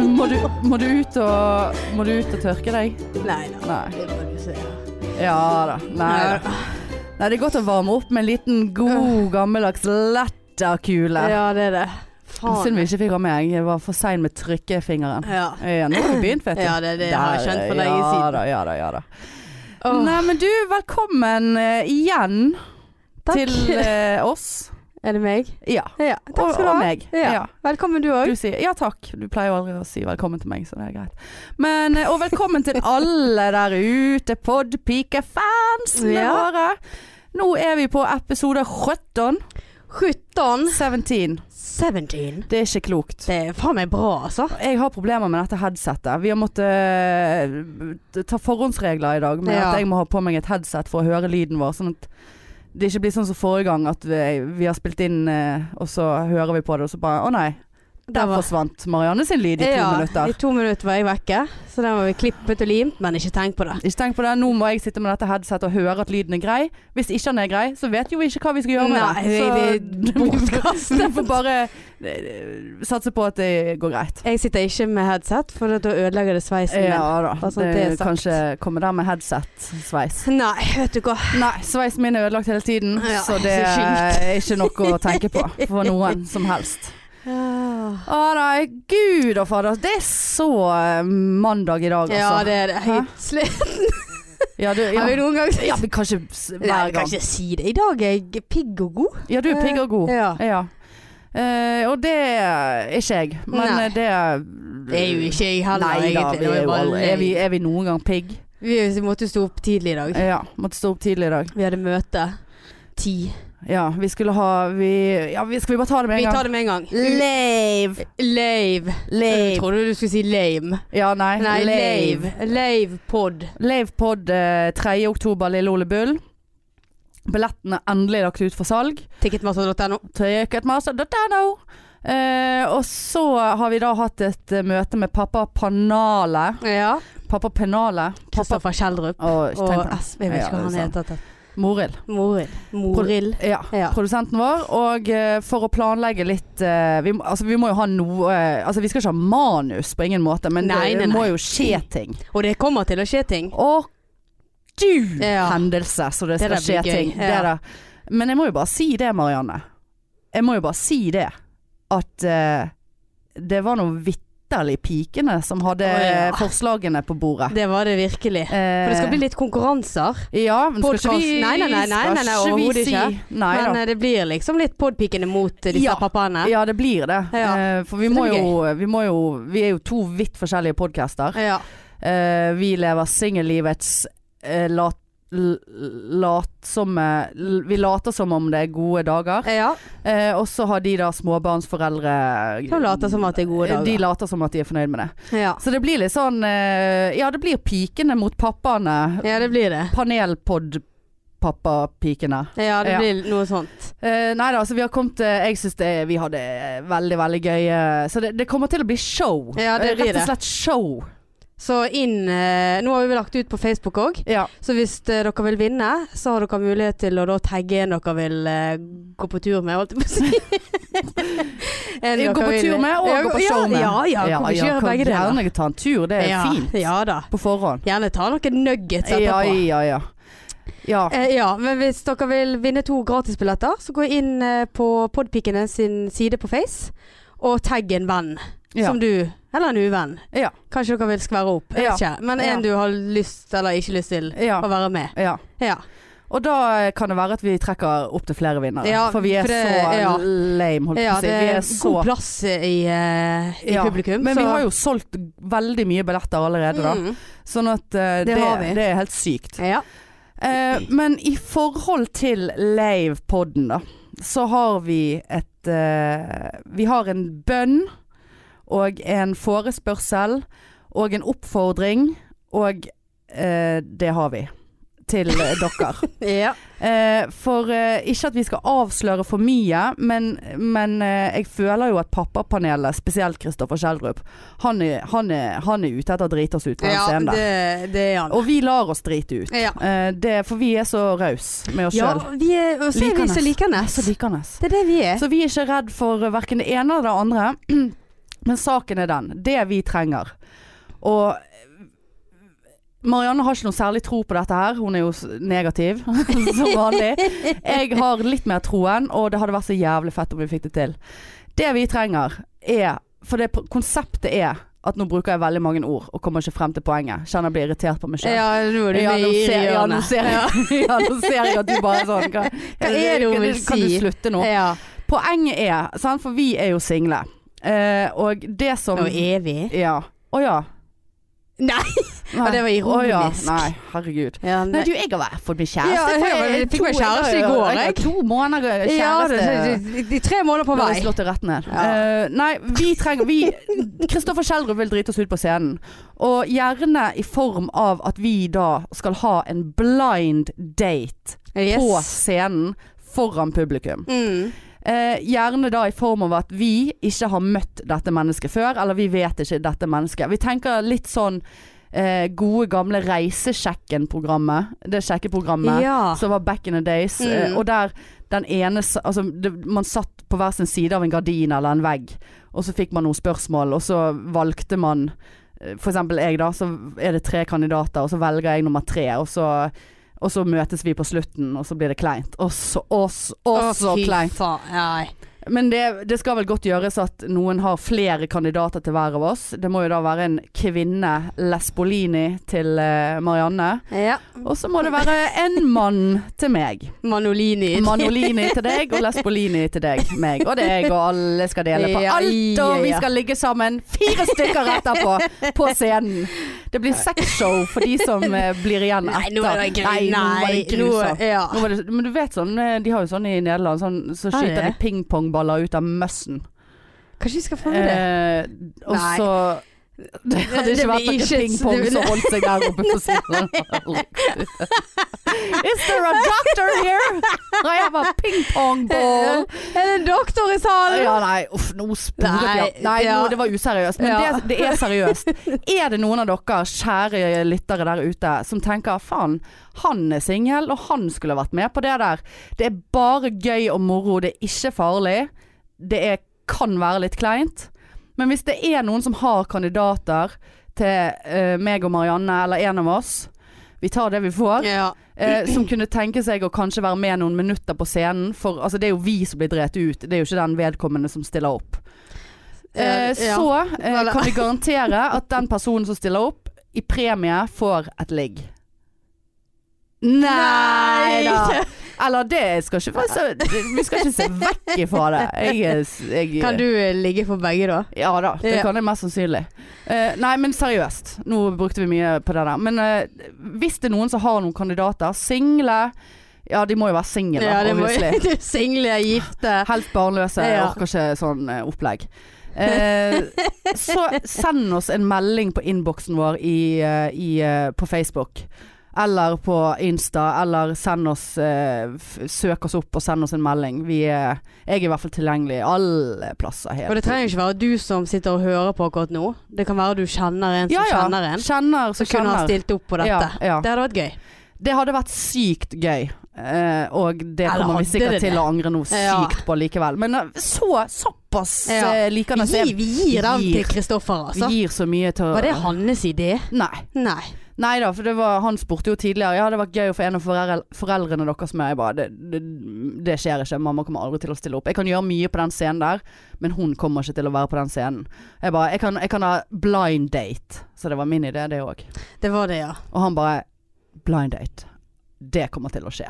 Må du ut og, må du ut og tørke deg? Nei da. Nei. Det må du se. Ja da. Nei da. Nei, det er godt å varme opp med en liten god, gammeldags letterkule. Ja, det er det. Synd Faen. vi ikke fikk av meg. Jeg var for sein med trykkefingeren. Ja. Ja, nå har vi begynt, vet du. Ja, det- det har jeg Der, skjønt for lenge siden. Ja da, ja da, ja da. Åh, Nei, men du, velkommen eh, igjen takk. til eh, oss. Er det meg? Ja. Ja. Takk skal og, du Og ha. meg. Ja. ja. Velkommen du òg. Du sier ja takk. Du pleier jo aldri å si velkommen til meg, så det er greit. Men, eh, og velkommen til alle der ute, podpikefansene Ja. våre. Nå er vi på episode 17. 17. 17. 17. Det er ikke klokt. Det er faen meg bra, altså. Jeg har problemer med dette headsetet. Vi har måttet eh, ta forhåndsregler i dag med Ja. at jeg må ha på meg et headset for å høre lyden vår. Sånn at det ikke blir sånn som forrige gang at vi, vi har spilt inn, eh, og så hører vi på det, og så bare Å nei, Der der var- forsvant Marianne sin lyd i to ja, minutter. I to minutter var jeg vekke, så den var vi klippet og limt, men ikke tenk på det. Ikke tenk på det, Nå må jeg sitte med dette headsetet og høre at lyden er grei. Hvis ikke den er grei, så vet jo vi ikke hva vi skal gjøre med Nei, vi, det. vi bortkastet. vi får bare eh, satse på at det går greit. Jeg sitter ikke med headset, for da ødelegger det sveisen min. Ja da. bare sånn at det det er er sagt. kanskje komme der med headset-sveis. Nei, vet du hva. Nei, sveisen min er ødelagt hele tiden, Ja, så det så sjukt. er ikke noe å tenke på for noen som helst. Ah. Å nei, gud og fader. Det er så eh, mandag i dag, Ja, altså. det er det. Hæ? Helt slitt. Ja, du, Har vi ja. noen gang ja men kanskje s- Nei, hver jeg kan gang. ikke si det. I dag er jeg pigg og god. Ja, du er pigg og god. Ja. Ja. Eh, og det er ikke jeg, men Nei. eh, det Det er jo ikke jeg Nei heller, da, egentlig. vi Det er, var jo bare aldri, er, vi, løgn. er vi noen gang pigg? Vi er- vi måtte stå opp tidlig i dag. Ja. Måtte stå opp tidlig i dag. Vi hadde møte ti. Ja, vi skulle ha vi, Ja, vi, skal vi bare ta det med Vi en gang? tar det med en gang. Lave. Lave. Jeg Lave. trodde du skulle si lame. Ja, nei. Nei, lave. lave. Lave pod. Lavepod eh, 3. oktober, Lille Ole Bull. Billetten er endelig lagt ut for salg. Ticketmaster.no. Ticketmaster.no. Eh, og så har vi da hatt et eh, møte med pappa Panale. Ja. Pappa Penale. Pappa Kristoffer Kjeldrup. Å, ikke tenk på Og det. S- jeg vet Ja, ikke hva det er han sant. heter. Morild. Morild. Morild. Ja. Ja. Produsenten vår. Og eh, for å planlegge litt eh, vi, må- altså, vi må jo ha noe eh, Altså, vi skal ikke ha manus på ingen måte, men Nei, det nei, nei. må jo skje ting. Og det kommer til å skje ting. Og du Ja. hendelse, så det Det skal der blir skje gøy. ting. Det Ja. der. Men jeg må jo bare si det, Marianne. Jeg må jo bare si det. At eh, det var noen vitterlig pikene som hadde Å, ja. forslagene på bordet. Det var det virkelig. Eh. For det skal bli litt konkurranser. Ja, men skal ikke Podcast. vi Nei, nei, nei, nei, nei, nei, skal ikke vi overhodet si- ikke. Nei Men da. eh, det blir liksom litt podpikende mot eh, disse Ja. pappaene. Ja, det blir det. Ja. Eh, For vi Så det må, blir jo, vi må jo Vi er jo to vidt forskjellige podcaster. Ja. Eh, vi lever singellivets uh, lat, l- latsomme l- Vi later som om det er gode dager. ja. Eh, og så har de da småbarnsforeldre eh, De later som at det er gode dager. De later som at de er fornøyd med det. ja. Så det blir litt sånn eh, Ja, det blir pikene mot pappaene. Ja, det blir det. Panelpod-pappapikene. Ja, det Ja. blir noe sånt. Uh, nei da, altså vi har kommet eh, Jeg syns vi hadde eh, veldig, veldig gøy. eh, så det, det kommer til å bli show. Ja, det Eh, blir Rett det. og slett show. Så inn eh, Nå har vi lagt ut på Facebook òg, Ja. så hvis eh, dere vil vinne, så har dere mulighet til å da tagge en dere vil eh, gå på tur med, holdt jeg på å si. Gå En dere på vil- tur med og Ja, gå på show med. Ja, ja, ja hvorfor ikke gjøre kan begge deler? Gjerne ta en tur, det er ja, fint. Ja da. På forhånd. Gjerne ta noen nuggets etterpå. Ja, ja, ja. Ja, Eh, ja, men hvis dere vil vinne to gratisbilletter, så gå inn eh, på Podpikene sin side på Face, og tagg en venn Ja. som du, eller en uvenn. Ja. Kanskje dere vil skvære opp, jeg Ja. vet ikke. Men en Ja. du har lyst eller ikke lyst til ja, å være med. ja. Ja. Og da eh, kan det være at vi trekker opp til flere vinnere. Ja, for vi er for det- så ja. lame, holdt jeg ja, på å si. det Vi er er så god plass i, eh, i Ja, publikum. Men vi har jo solgt veldig mye billetter allerede, da. Mm. Sånn at eh, Det det, har vi. det er helt sykt. Ja. Eh, men i forhold til Lave-podden da, så har vi et eh, Vi har en bønn og en forespørsel og en oppfordring, og eh, det har vi. Til eh, dere. ja. Eh, for eh, ikke at vi skal avsløre for mye, men, men eh, jeg føler jo at pappapanelet, spesielt Kristoffer Kjeldrup, han er, han, er, han er ute etter å drite oss ut på den ja scenen der. det, det er han. Og vi lar oss drite ut. Ja. Eh, det, for vi er så raus med oss ja, sjøl. vi er, og så er vi Likandes. så likende. Så likende. Det er det vi er. Så vi er ikke redd for hverken det ene eller det andre. Men saken er den. Det vi trenger. Og eh, Marianne har ikke noe særlig tro på dette her. Hun er jo s- negativ, som vanlig. Jeg har litt mer troen, og det hadde vært så jævlig fett om vi fikk det til. Det vi trenger er For det pr- konseptet er at nå bruker jeg veldig mange ord og kommer ikke frem til poenget. Kjenner jeg blir irritert på meg sjøl. Ja, nå er du Ja, ja, nå i ser, ja, nå hjørnet. ser jeg, ja, nå ser jeg at du bare er sånn Hva, hva er det hun vil si? Kan du slutte nå? Ja. Poenget er, sant, for vi er jo single. Eh, og det som Og evig. Ja. Å ja. Nei, Nei. Ja, det var Å ja. ironisk. Nei, herregud. Ja, Nei, du, jeg har vært- fått meg kjæreste. Ja, jeg for har- jeg to- fikk meg kjæreste i jeg har- går, Jeg har jeg. to måneder Ja, kjæreste. det, det, det, de tre måneder på Nå har jeg vei. slått det rett ned. Ja. Eh, nei, vi trenger vi, Kristoffer Schjelderup vil drite oss ut på scenen. Og gjerne i form av at vi da skal ha en blind date på Yes. scenen foran publikum. Mm. Eh, gjerne da i form av at vi ikke har møtt dette mennesket før, eller vi vet ikke dette mennesket. Vi tenker litt sånn eh, gode gamle Reisesjekken-programmet. Det sjekkeprogrammet Ja. som var back in the days. Ah. Mm. Eh, og der den ene s- Altså, det, man satt på hver sin side av en gardin eller en vegg, og så fikk man noen spørsmål, og så valgte man eh, for eksempel jeg da, så er det tre kandidater, og så velger jeg nummer tre, og så, og så møtes vi på slutten, og så blir det kleint. Og så, og så, og så Å, fy kleint. faen. Nei. Men det, det skal vel godt gjøres at noen har flere kandidater til hver av oss. Det må jo da være en kvinne, Lesbolini, til eh, Marianne. Ja. Og så må det være en mann til meg. Manolini. Manolini til deg og Lesbolini til deg, meg. Og deg og alle skal dele på Ja, alt, og vi ja. skal ligge sammen fire stykker etterpå på scenen. Det blir sexshow for de som eh, blir igjen Nei, etter. nå er det gru- Nei, nå var det grusomt. ja. Nå var det, men du vet sånn, eh, de har jo sånn i Nederland, sånn, så Har de skyter de det? pingpongballer ut av møssen. Kanskje vi skal få det? Eh, og Nei. så Det hadde Det ikke blir vært noe ikke- pingpong det blir- som holdt seg der oppe på siden. Is there a doctor here? Nei, jeg var pingpongball. Eh, Er det en doktor i salen? Ja, nei, uff, nå sporet vi av. Nei, Nei, ja. nå, det var useriøst. Men Ja. det, det er seriøst. Er det noen av dere, kjære lyttere der ute, som tenker faen, han er singel, og han skulle vært med på det der. Det er bare gøy og moro, det er ikke farlig. Det er, kan være litt kleint. Men hvis det er noen som har kandidater til eh, meg og Marianne, eller en av oss, vi tar det vi får Ja. eh, som kunne tenke seg å kanskje være med noen minutter på scenen. For altså, det er jo vi som blir drept ut, det er jo ikke den vedkommende som stiller opp. Eh, Eh, ja. Så eh, kan vi garantere at den personen som stiller opp, i premie får et ligg. Nei da! Eller det skal ikke være så Vi skal ikke se vekk ifra det. Jeg, er- jeg, Kan du eh, ligge for begge, da? Ja da, det Ja. kan jeg mest sannsynlig. Eh, nei, men seriøst. Nå brukte vi mye på det der. Men eh, hvis det er noen som har noen kandidater, single Ja, de må jo være single, Ja, det må obviously. du single, gifte Helst barnløse. Jeg Ja. orker ikke sånn eh, opplegg. Eh, så send oss en melding på innboksen vår i, eh, i, eh, på Facebook. Eller på Insta, eller send oss eh, f- Søk oss opp og send oss en melding. Vi er, jeg er i hvert fall tilgjengelig alle plasser. hele Og det tiden. trenger ikke være du som sitter og hører på akkurat nå. Det kan være du kjenner en som Ja, ja. kjenner en. Kjenner Så som kunne ha kjenner. stilt opp på dette. Ja, ja. Det hadde vært gøy. Det hadde vært sykt gøy. eh, og det Eller kommer vi hadde sikkert det til det? å angre noe Ja. sykt på likevel. Men eh, så, såpass Ja. eh, liker Vi, han at jeg vi gir den Gir. til Kristoffer, altså. gir så mye til å- Var det hans idé? Nei. Nei. Nei da, for det var, han spurte jo tidligere Ja, det hadde vært gøy å få en av forel foreldrene deres med. Jeg bare det, det, det skjer ikke. Mamma kommer aldri til å stille opp. Jeg kan gjøre mye på den scenen der, men hun kommer ikke til å være på den scenen. Jeg bare Jeg kan, jeg kan ha blind date. Så det var min idé, det òg. Det var det, ja. Og han bare Blind date. Det kommer til å skje.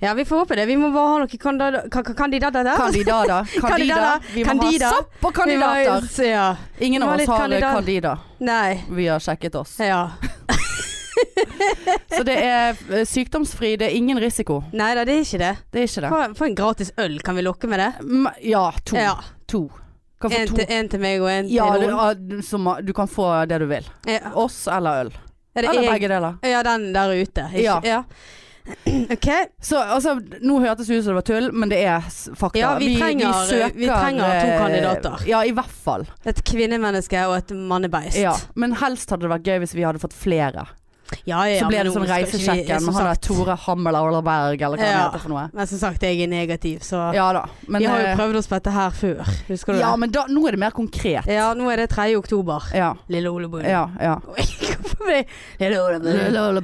Ja, vi får håpe det. Vi må bare ha noen kanda- ka- ka- kandidater der. Kandidater. Kandidater. Kandidater. Vi må Kandidater. ha sopp og kandidater. Vi må- Ja. Ingen vi av må ha oss litt har kandidat. kandidater. Nei. Vi har sjekket oss. Ja. Så det er eh, sykdomsfri. Det er ingen risiko. Nei da, det er ikke det. Det er ikke det. Få- Få en gratis øl, kan vi lokke med det? M- Ja, to. Ja. To. Kan få En to. til, en til meg og en Ja, til du, noen. ja, du- som, du kan få det du vil. Ja. Oss eller øl. Er det Eller jeg- begge deler. Ja, den der ute. Ikke? Ja. OK. Så altså, nå hørtes det ut som det var tull, men det er s- fakta. Ja, vi trenger- vi trenger to eh, kandidater. Ja, i hvert fall. Et kvinnemenneske og et mannebeist. Ja. Men helst hadde det vært gøy hvis vi hadde fått flere. Ja, ja, ja, så ble men det nå sånn skal ikke vi- reisesjekken som med han der sagt- Tore Hammel-Aulerberg, eller hva det Ja. heter for noe. Men som sagt, jeg er negativ, så Ja da. Men, Vi har eh, jo prøvd oss på dette her før, husker du ja, det? men da, nå er det mer konkret. Ja, nå er det 3. oktober. Ja. Lille Ole Bull. Ja. ja. Hvorfor ble Lille Ole Bull. Lille Ole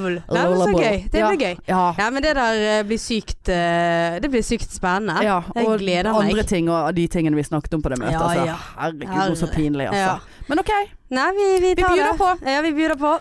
Bull. Nei, men så gøy. Det blir gøy. Ja. Ja, men det der eh, blir sykt eh, Det blir sykt spennende. ja. jeg Og gleder meg. andre ting og de tingene vi snakket om på det møtet. Ja, altså. ja. Herregud, så Herre. pinlig, Ja. altså. Men OK, Nei, vi, vi vi tar byr det. på. Ja, vi byr på.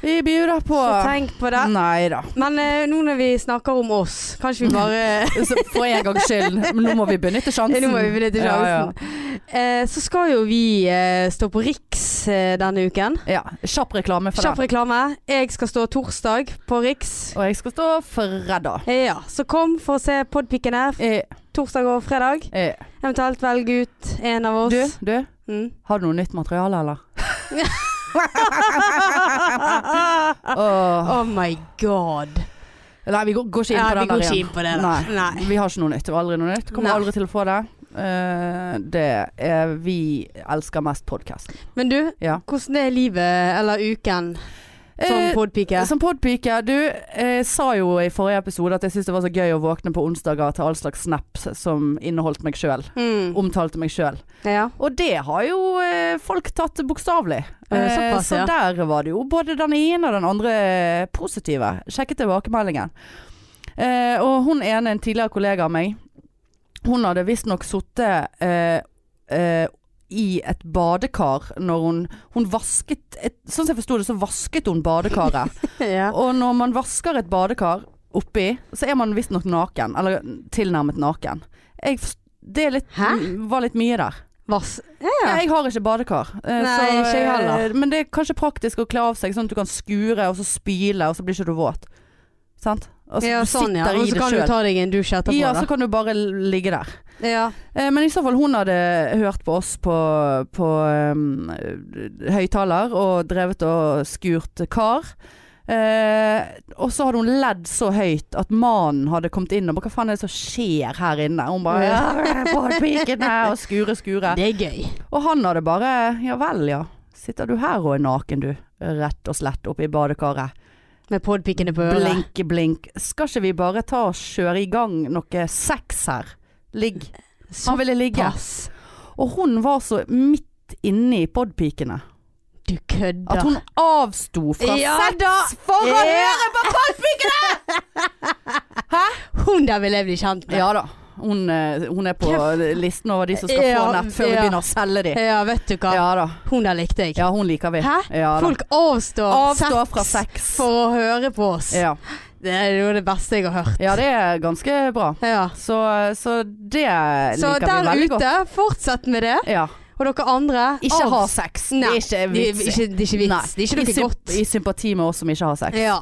Vi byr på. Mm. Så tenk på det. Nei da. Men eh, nå når vi snakker om oss, kanskje Mm. vi bare Så For en gangs skyld. Men nå må vi benytte sjansen. Nå må vi benytte Ja, ja. sjansen. Eh, så skal jo vi eh, stå på Riks eh, denne uken. Ja. Kjapp reklame for Kjapp den. reklame. Jeg skal stå torsdag på Riks. Eh, Og jeg skal stå fredag. Ja, så kom for å se podpikene Eh, torsdag og fredag. eh. Eventuelt velg ut en av oss. Du, du. Mm. Har du noe nytt materiale, eller? Åh. oh my god. Nei, vi går, går ikke inn Ja, på vi den går der ikke igjen. inn på det. Da. Nei. Nei. Vi har ikke noe nytt. Det var aldri noe nytt. Kommer Nei. aldri til å få det. Eh, det er Vi elsker mest podkasten. Men du, Ja. hvordan er livet eller uken som Eh, podpike? Som podpike, du eh, sa jo i forrige episode at jeg syntes det var så gøy å våkne på onsdager til all slags snaps som inneholdt meg sjøl. Mm. Omtalte meg sjøl. Ja. Og det har jo eh, folk tatt bokstavelig. Eh, Ja, det er såpass, så ja. der var det jo både den ene og den andre positive. Sjekket tilbakemeldingen. Eh, og hun ene, en tidligere kollega av meg, hun hadde visstnok sittet eh, eh, i et badekar når hun Hun vasket et, Sånn som jeg forsto det, så vasket hun badekaret. ja. og når man vasker et badekar oppi, så er man visstnok naken. Eller tilnærmet naken. Jeg, forst- det er litt, Hæ? var litt mye der. Vass. Ja. Jeg har ikke badekar. eh, Nei, ikke jeg heller. eh, Men det er kanskje praktisk å kle av seg, sånn at du kan skure og så spyle, og så blir ikke du våt. Sant? Og så Ja, du sånn, ja. sitter Og i så det kan du sjøl. ta deg en dusj etterpå. Ja, da. så kan du bare ligge der. ja. Eh, Men i så fall, hun hadde hørt på oss på, på eh, høyttaler og drevet og skurt kar. Eh, og så hadde hun ledd så høyt at mannen hadde kommet inn og bare Hva faen er det som skjer her inne? Hun bare Mm. ja, Båtpikene! Og skure, skure. Det er gøy. Og han hadde bare Ja vel, ja. Sitter du her og er naken, du? Rett og slett oppe i badekaret. Med podpikene på øret. Blink, blink. Skal ikke vi bare ta og kjøre i gang noe sex her? Ligg. Han ville ligge. Såpass. Og hun var så midt inne i podpikene Du kødder. at hun avsto fra Ja sex da. for å Ja. høre på Hun der vil jeg bli kjent med. Ja da. Hun, eh, hun er på listen over de som skal få Ja, nett før vi ja. begynner å selge de. Ja, vet du hva. Ja da. Hun der likte jeg. Ja, hun liker vi. Hæ? Ja, da. Folk avstår, Avstå sex fra sex. for å høre på oss. Ja. Det er jo det beste jeg har hørt. ja, det er ganske bra. Ja. Så, så det Så liker vi der veldig godt. ute, fortsett med det. Ja. Og dere andre Ikke avs- ha sex. Det Nei, er ikke Det er vits. i. ikke, det er ikke Nei. vits. Det er ikke I noe symp- godt. I sympati med oss som ikke har sex. Ja.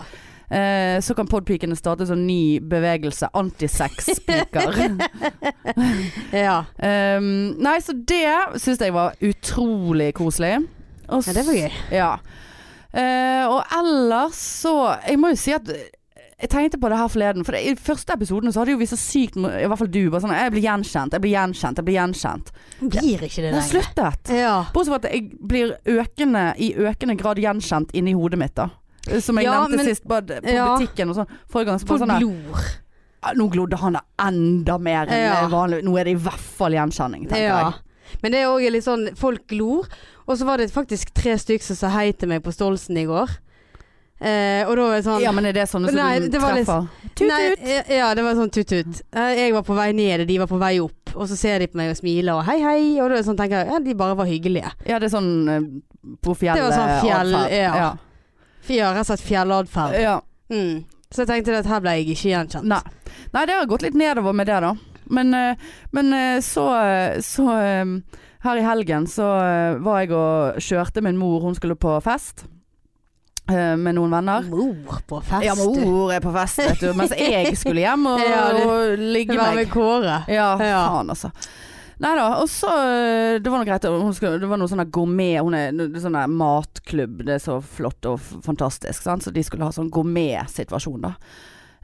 Eh, så kan podpikene starte en sånn ny bevegelse. Antisex-piker. ja. um, nei, så det syns jeg var utrolig koselig. Og Ja, det var gøy. Ja. Eh, og ellers så Jeg må jo si at eh, jeg tenkte på det her forleden. For det, I første episoden så hadde jo vi så sykt mo- I hvert fall du. Bare sånn Jeg blir gjenkjent, jeg blir gjenkjent, jeg blir gjenkjent. Hun blir ikke det Den lenger. sluttet. Ja. Bortsett fra at jeg blir økende, i økende grad gjenkjent inni hodet mitt, da. Som jeg Ja, nevnte men- sist, bare på ja. butikken og sånn. Forrige gang så bare Folk sånn der, glor. «Ah, Nå glodde han da enda mer enn Ja. vanlig. Nå er det i hvert fall gjenkjenning, tenker Ja. jeg. Men det er òg litt sånn Folk glor. Og så var det faktisk tre stykker som sa hei til meg på Stolsen i går. Eh, og da var jeg sånn Ja, men er det sånne som Nei, du det var litt- treffer? Tut, Nei, tut! ja, Ja, det var sånn tut-tut. Eh, Jeg var på vei ned, og de var på vei opp. Og så ser de på meg og smiler og hei, hei. Og da er det sånn, tenker jeg ja, de bare var hyggelige. Ja, det er sånn eh, på fjellet. Det var sånn fjell, atferd. ja. ja. For jeg har rett og slett fjellatferd. Ja. Mm. Så jeg tenkte at her ble jeg ikke gjenkjent. Eh. Nei. Nei, det har gått litt nedover med det, da. Men, eh, men eh, så, så eh, Her i helgen så eh, var jeg og kjørte min mor. Hun skulle på fest eh, med noen venner. Mor på fest, ja, du. mor er på fest, vet du. Mens jeg skulle hjem og, Ja, du- og ligge Være meg. med Kåre. Ja, Ja. faen altså. Nei da, og så øh, Det var noe greit. Hun skulle, det var noe sånn der gourmet Hun er det er sånn der matklubb. Det er så flott og f- fantastisk. Sant? Så de skulle ha sånn gourmet-situasjon, da.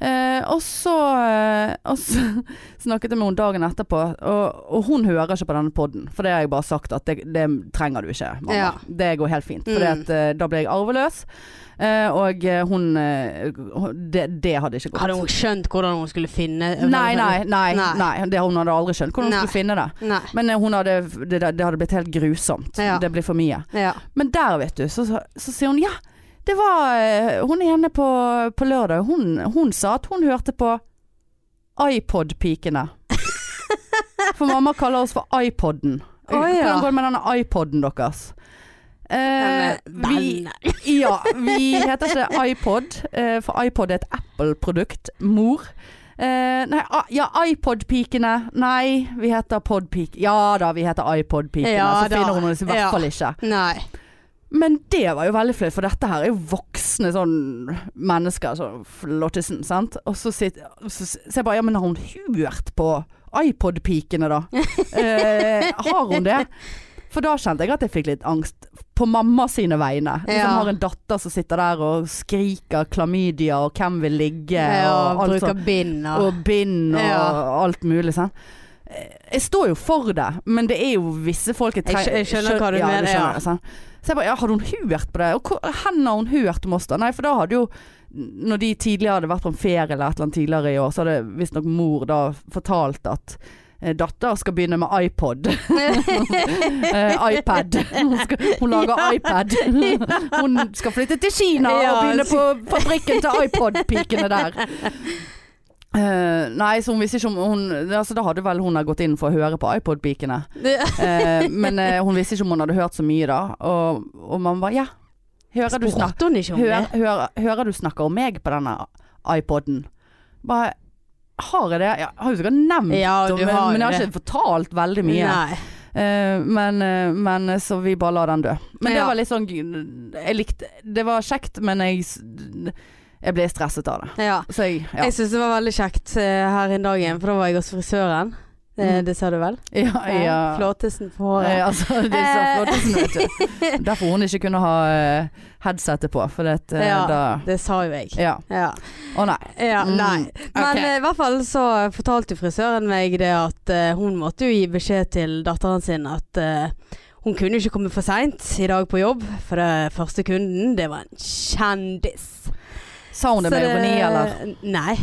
Eh, og, så, eh, og så snakket jeg med henne dagen etterpå, og, og hun hører ikke på denne podden. For det har jeg bare sagt at det, det trenger du ikke, mamma. Ja. Det går helt fint. For Mm. at, eh, da ble jeg arveløs, eh, og eh, hun eh, det, det hadde ikke gått. Hadde hun skjønt hvordan hun skulle finne Nei, nei, nei, Nei. nei. Det, hun hadde aldri skjønt hvordan hun Nei. skulle finne det. Nei. Men eh, hun hadde, det, det hadde blitt helt grusomt. Ja. Det blir for mye. Ja. Men der, vet du, så, så, så sier hun ja. Det var eh, Hun ene på, på lørdag, hun, hun sa at hun hørte på iPod-pikene. For mamma kaller oss for iPoden. Å, ja. Hvordan går det med denne iPoden deres? Eh, Men, vi, venner. ja, vi heter ikke iPod, eh, for iPod er et Apple-produkt. Mor. Eh, nei, ah, ja, iPod-pikene. Nei, vi heter Podpik... Ja da, vi heter iPod-pikene. Ja så da. finner hun oss i hvert Ja. fall ikke. Nei. Men det var jo veldig flaut, for dette her er jo voksne sånn mennesker. Sånn flottisen, sant. Og så, sitt, så ser jeg bare Ja, men har hun hørt på iPod-pikene, da? Eh, har hun det? For da kjente jeg at jeg fikk litt angst på mamma sine vegne. Som Ja. har en datter som sitter der og skriker klamydia og hvem vil ligge Ja, og, alt bruker sånt. bind og og bind og Ja. alt mulig sånn. Jeg står jo for det, men det er jo visse folk Jeg skjø- jeg skjønner hva du ja, mener, ja. skjønner det, sant? Så jeg bare, ja, hadde hun hørt på det? Og hvor, hen har hun hørt om oss da? Nei, for da hadde jo, når de tidligere hadde vært på en ferie eller et eller annet tidligere i år, så hadde visstnok mor da fortalt at eh, Datter skal begynne med iPod. Eh, iPad. Hun, skal, hun lager iPad. Hun skal flytte til Kina Ja, og begynne på fabrikken til iPod-pikene der. Eh, nei, så hun visste ikke om hun altså, Da hadde vel hun gått inn for å høre på iPod-pikene. Eh, men eh, hun visste ikke om hun hadde hørt så mye da. Og, og mamma bare ja. Hører du, snak Spurte hun ikke om hør, det? hør, hører du snakker om meg på denne iPoden? Bare har jeg det? Jeg har jo sikkert nevnt Ja, om du det, har men jeg har det. ikke fortalt veldig mye. Nei. Eh, men, eh, men så vi bare la den dø. Men det Ja. var litt sånn Jeg likte Det var kjekt, men jeg s- Jeg ble stresset av det. Ja. Så jeg Ja. Jeg syns det var veldig kjekt eh, her en dag igjen, for da var jeg hos frisøren. Eh, Mm. Det sa du vel? ja, ja. Flåtesen på Eh, håret. altså, de sa Eh. flottesen, vet du. Derfor hun ikke kunne ha eh, headsetet på, for det, eh, Ja. da Det sa jo jeg. Ja. Ja. Å nei. ja Mm. nei. Men Ok. eh, i hvert fall så fortalte jo frisøren meg det at eh, hun måtte jo gi beskjed til datteren sin at eh, hun kunne ikke komme for seint i dag på jobb, for det første kunden, det var en kjendis. Sa hun det Så med ironi, eller? Nei.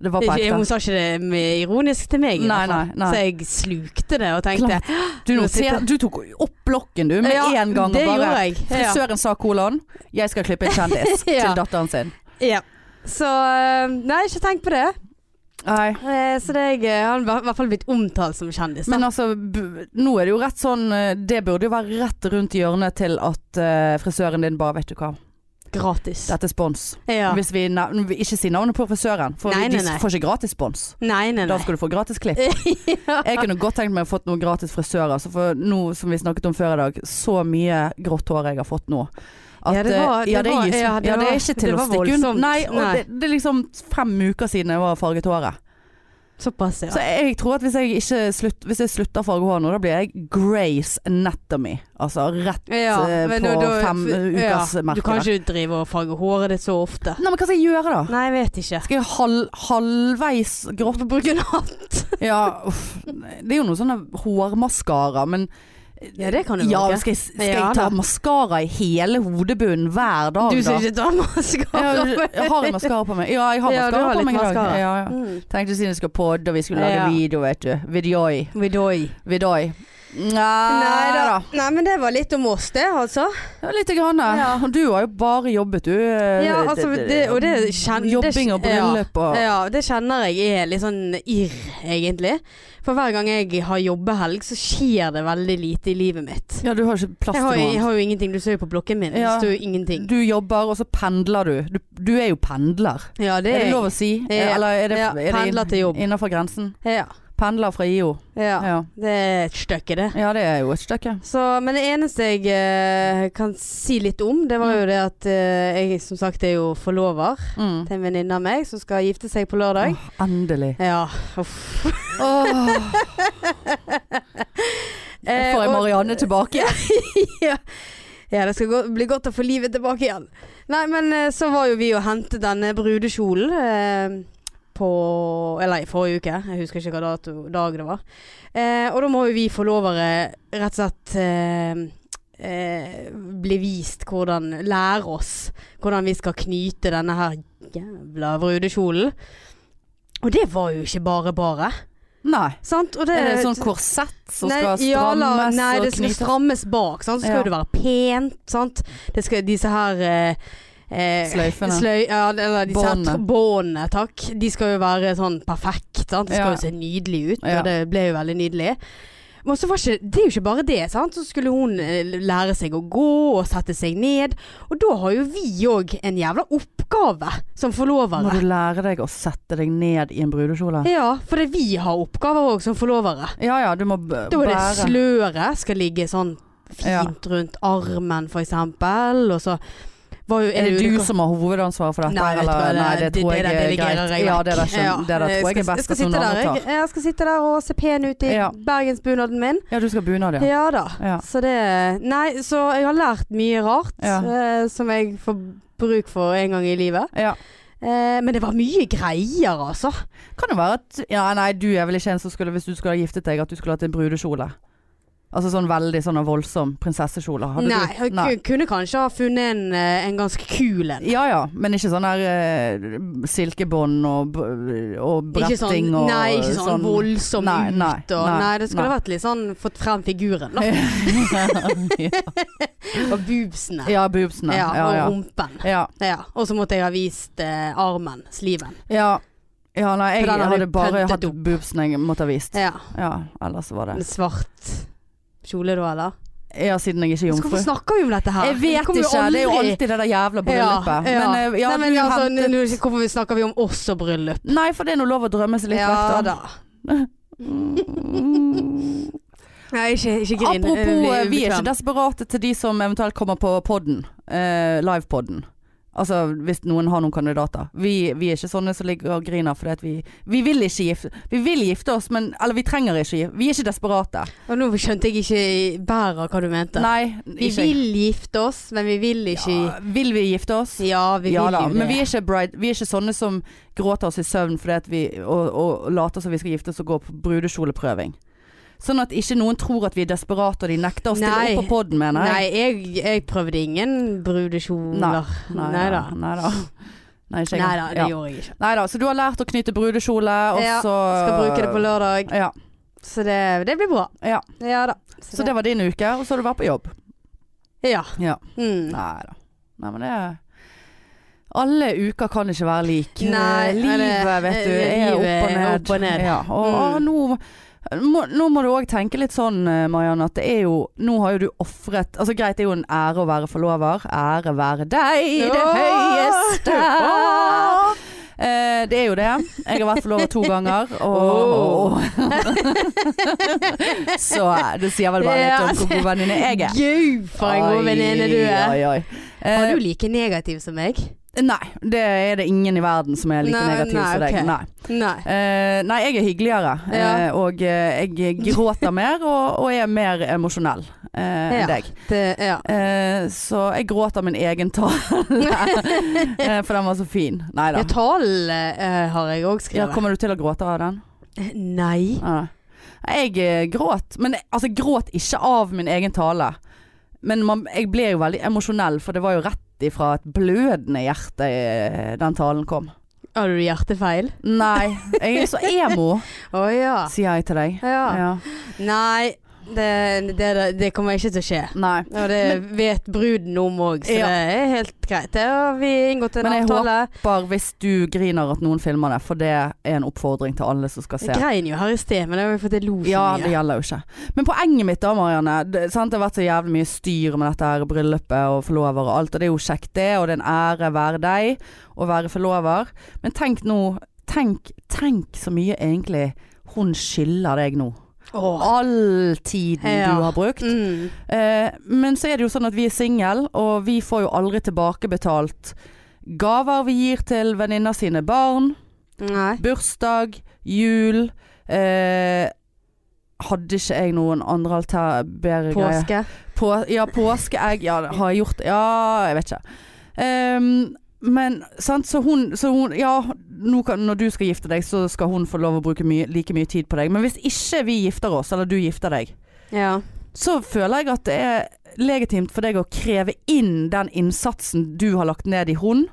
Det var på Ikke- Hun ekte. sa ikke det med ironisk til meg, i Nei, hvert fall. nei, nei. Så jeg slukte det og tenkte Klart. Du, nå ser- du tok opp blokken, du, med Ja, en gang. Det og gjorde bare jeg. Ja. Frisøren sa kolon, jeg skal klippe en kjendis Ja. til datteren sin. Ja. Så eh, Nei, ikke tenk på det. Nei. Eh, Så det er jeg eh, har i hvert fall blitt omtalt som kjendis. da. Men altså, bu- nå er det jo rett sånn eh, Det burde jo være rett rundt hjørnet til at eh, frisøren din bare Vet du hva, Gratis. dette er spons. Ja. Hvis vi nav- vi ikke sier navnet på frisøren, for Nei, nei, de nei. får ikke gratis spons. Nei, nei, Da nei. skal du få gratis klipp. Jeg kunne godt tenkt meg å fått noen gratis frisører, altså, for nå som vi snakket om før i dag, så mye grått hår jeg har fått nå. At, Ja, det var- eh, det ja, det, var- gis- ja, ja, det det var- er ikke det til å var stikke unna. voldsomt. Nei, og Nei. det, det er liksom fem uker siden jeg var farget håret. Såpass, ja. Så jeg tror at hvis jeg, ikke slutt, hvis jeg slutter å farge håret nå, da blir jeg Grace Anatomy. Altså rett Ja, eh, men på da- da- fem eh, ja, ukers merke. Du kan ikke drive og farge håret ditt så ofte. Nei, men hva skal jeg gjøre da? Nei, jeg vet ikke. Skal jeg halv, halvveis grått Grått bruke en hatt. Ja, uff. Det er jo noen sånne hårmaskara, men Ja, det kan du Ja, bruke. skal jeg, skal Ja, jeg ta da. maskara i hele hodebunnen hver dag, da? Du som ikke tar maskara. Jeg, jeg har en maskara på meg. Ja, jeg har Ja, du maskara har på litt meg i dag. mascara. Ja, ja. Mm. Tenkte siden jeg skal podde og vi skulle lage Ja. video, vet du. Videoi. Vidoi. Videoi. Nei Nei da. da. Nei, men det var litt om oss, det, altså. Ja, Lite grann. Ja. Og Du har jo bare jobbet, du. Ja, altså, det- og det kjen- det- Jobbing og bryllup og Ja, det kjenner jeg er litt sånn irr, egentlig. For hver gang jeg har jobbehelg, så skjer det veldig lite i livet mitt. Ja, du har ikke plass til Jeg noe har, jeg annet. har jo ingenting. Du ser jo på blokken min. Ja. Det står jo ingenting. Du jobber, og så pendler du. Du, du er jo pendler. Ja, det Er er det lov å jeg. si? Ja. Eller er det, Ja, pendler til er jobb. det innafor grensen? Ja. Pendler fra IO. ja. Ja. Det er et stykke, det. ja, det er jo et stykke. Så, men det eneste jeg eh, kan si litt om, det var jo det at eh, jeg som sagt er jo forlover Mm. til en venninne av meg som skal gifte seg på Åh, lørdag. endelig. Ja, uff. Åh, Eh, får jeg og- Marianne tilbake? ja. Ja, det skal gå, bli godt å få livet tilbake igjen. Nei, men eh, så var jo vi og hentet denne brudekjolen eh, på Eller i forrige uke. Jeg husker ikke hva dato, dag det var. Eh, og da må jo vi forlovere rett og slett eh, eh, bli vist hvordan Lære oss hvordan vi skal knyte denne her jævla brudekjolen. Og det var jo ikke bare bare. Nei. Sant? Og det, Er det sånn korsett som Nei, skal ja, la- strammes nei, og det skal knytes? strammes bak. Sant? Så Ja. skal jo det være pent. Sant? Det skal disse her eh, eh, Sløyfene. sløy- ja, eller disse her Båndene. tr- Båndene, takk. De skal jo være sånn perfekt. Sant? Det skal Ja. jo se nydelig ut, Ja. og det ble jo veldig nydelig. Men så var ikke, det er jo ikke bare det. Sant? Så skulle hun eh, lære seg å gå og sette seg ned. Og da har jo vi òg en jævla oppgave som Må forlovere. du lære deg å sette deg ned i en brudekjole? Ja, for det, vi har oppgaver òg som forlovere. Ja ja, du må b- Da er det bære sløret skal ligge sånn fint Ja. rundt armen, for eksempel. Og så var jo Er det ulike- du som har hovedansvaret for dette? Nei, vet du hva, eller? det- Nei, det, tror jeg der er delegerer greit. jeg Ja, vekk. det der, skjøn- Ja. det der tror jeg skal- er best skal at noen sitte andre der, tar. jeg, jeg skal sitte der og se pen ut i Ja. bergensbunaden min. Ja, du skal ha bunad, ja. Ja da. Ja. Så det Nei, så jeg har lært mye rart Ja. eh, som jeg får bruk for en gang i livet. ja. Eh, men det var mye greier, altså. Kan det være at Ja, nei, du er vel ikke en som skulle Hvis du skulle ha giftet deg, at du skulle hatt en brudekjole. Altså sånn veldig sånn voldsom prinsessekjole. Hadde Nei, du? jeg ku- kunne kanskje ha funnet en, eh, en ganske kul en. Ja ja, men ikke sånn der eh, silkebånd og, b- og Ikke sånn, bretting og nei, ikke sånn, voldsom Nei, nei, ut og Nei, nei, det skulle nei. vært litt sånn fått frem figuren da. Og boobsene. ja, boobsene. Ja, Ja, ja, og ja. rumpen. ja. Ja. Og så måtte jeg ha vist eh, armen, sliven. Ja, ja nei, jeg For den har hadde du bare pøddet hatt opp. boobsene jeg måtte ha vist. Ja. Ja, ellers var Med det svart kjole da, eller? Ja, siden jeg ikke er Så jomfru. hvorfor snakker vi om dette her? Jeg vet kommer jo ikke, det er jo aldri- alltid det der jævla bryllupet. Ja, ja. Men, eh, ja, Nei, men du altså, hentet- nå- Hvorfor snakker vi om oss og bryllup? Nei, for det er nå lov å drømme seg litt ja vekk, da. Mm. da. Nei, ikke, ikke grin. Apropos, eh, Jeg blir vi er ubekvem. ikke desperate til de som eventuelt kommer på podden. Eh, Livepodden. Altså hvis noen har noen kandidater. Vi, vi er ikke sånne som ligger og griner fordi at vi Vi vil ikke gifte Vi vil gifte oss, men Eller vi trenger ikke gifte Vi er ikke desperate. Og nå skjønte jeg ikke bæret hva du mente. Nei, Vi ikke vil gifte oss, men vi vil ikke ja, Vil vi gifte oss? Ja, vi ja vil da, jo det. men vi er, ikke bride, vi er ikke sånne som gråter oss i søvn fordi at vi, og, og later som vi skal gifte oss og gå på brudekjoleprøving. Sånn at ikke noen tror at vi er desperate og de nekter å stille Nei. opp på poden, mener Nei, jeg. jeg, jeg prøvde ingen brudekjoler. Nei da. Nei da. Nei, ikke jeg. Nei da, det Ja. gjorde jeg ikke. Neida, så du har lært å knyte brudekjole, og Ja, så Skal bruke det på lørdag. Ja. Så det, det blir bra. Ja. da. Så det var din uke, og så har du vært på jobb. Ja. Ja. Mm. Nei da. Nei, men det er Alle uker kan ikke være lik. Nei, Eh, livet, eller- vet du, eh, er livet opp og er ned. opp og ned. Ja, og, Mm. og nå må, nå må du òg tenke litt sånn, eh, Marianne, at det er jo Nå har jo du ofret Altså greit, det er jo en ære å være forlover. Ære være deg i det Åh! høyeste. Åh! Eh, det er jo det. Jeg har vært forlover to ganger, og, og Så eh, det sier vel bare litt om hvor god venninne jeg er. Gud, for en god Oi, venninne du er. Oi, oi. Eh, Var du like negativ som meg? Nei, det er det ingen i verden som er like Nei, negativ nei, som deg. ok. Nei. Nei. Eh, nei, jeg er hyggeligere, eh, og eh, jeg gråter mer og, og er mer emosjonell eh, Ja. enn deg. Det, ja. Eh, så jeg gråter min egen tale, eh, for den var så fin. Nei da. ja talen eh, har jeg òg Ja, skrevet. kommer du til å gråte av den? Nei. Ja. Jeg eh, gråt, men altså gråt ikke av min egen tale. Men man, jeg ble jo veldig emosjonell, for det var jo rett ifra et blødende hjerte eh, den talen kom. Har du hjertefeil? Nei, jeg er så emo, Å ja. sier jeg til deg. ja. Ja. Nei, det, det, det kommer ikke til å skje. Nei. Og det vet bruden om òg, så Ja. det er helt greit. Det har vi inngått en Men jeg avtale. Bare hvis du griner at noen filmer det, for det er en oppfordring til alle som skal se. Jeg grein jo her i sted, men det var jo fordi jeg lo så Ja, det mye. gjelder jo ikke. Men poenget mitt da, Marianne. Det, sant? det har vært så jævlig mye styr med dette her bryllupet og forlover og alt. Og det er jo kjekt det, og det er en ære være deg å være forlover. Men tenk nå, tenk, tenk så mye egentlig hun skylder deg nå. Åh. All tiden Ja. du har brukt. Mm. Eh, men så er det jo sånn at vi er single, og vi får jo aldri tilbakebetalt gaver vi gir til venninner sine barn Nei. bursdag, jul eh, hadde ikke jeg noen andre alter bedre greier. Påske. På, ja, påskeegg. Ja, det har jeg gjort Ja, jeg vet ikke. Ehm, men sant, så hun, så hun Ja, nå kan, når du skal gifte deg, så skal hun få lov å bruke mye, like mye tid på deg. Men hvis ikke vi gifter oss, eller du gifter deg, Ja. så føler jeg at det er legitimt for deg å kreve inn den innsatsen du har lagt ned i hun,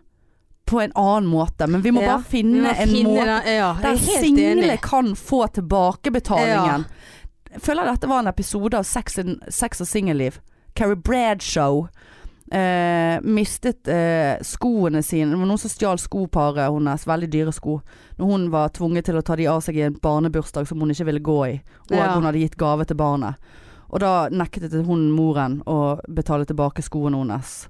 på en annen måte. Men vi må Ja, bare finne en måte den- Ja, jeg der er helt single enig. kan få tilbakebetalingen. Jeg Føler dette var en episode av Sex, and, sex og singelliv. Carrie Bradshaw eh, mistet eh, skoene sine. Det var noen som stjal skoparet hennes, veldig dyre sko. Når hun var tvunget til å ta de av seg i en barnebursdag som hun ikke ville gå i. Og Ja. at hun hadde gitt gave til barnet. Og da nektet hun moren å betale tilbake skoene hennes.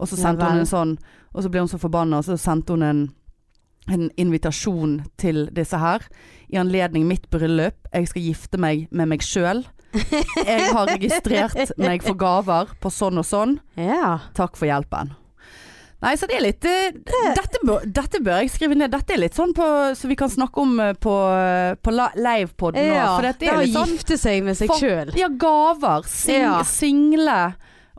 Og så Ja sendte vel. hun en sånn Og så ble hun så forbanna, og så sendte hun en en invitasjon til disse her i anledning mitt bryllup. Jeg skal gifte meg med meg sjøl. Jeg har registrert meg for gaver på sånn og sånn. Ja. Takk for hjelpen. Nei, så det er litt eh, Dette bør, dette bør jeg skrive ned. Dette er litt sånn på, så vi kan snakke om eh, på, på la- livepod nå. ja. for dette det er å litt sånn gifte seg med seg For- sjøl. Ja, gaver. Sing, Ja. Single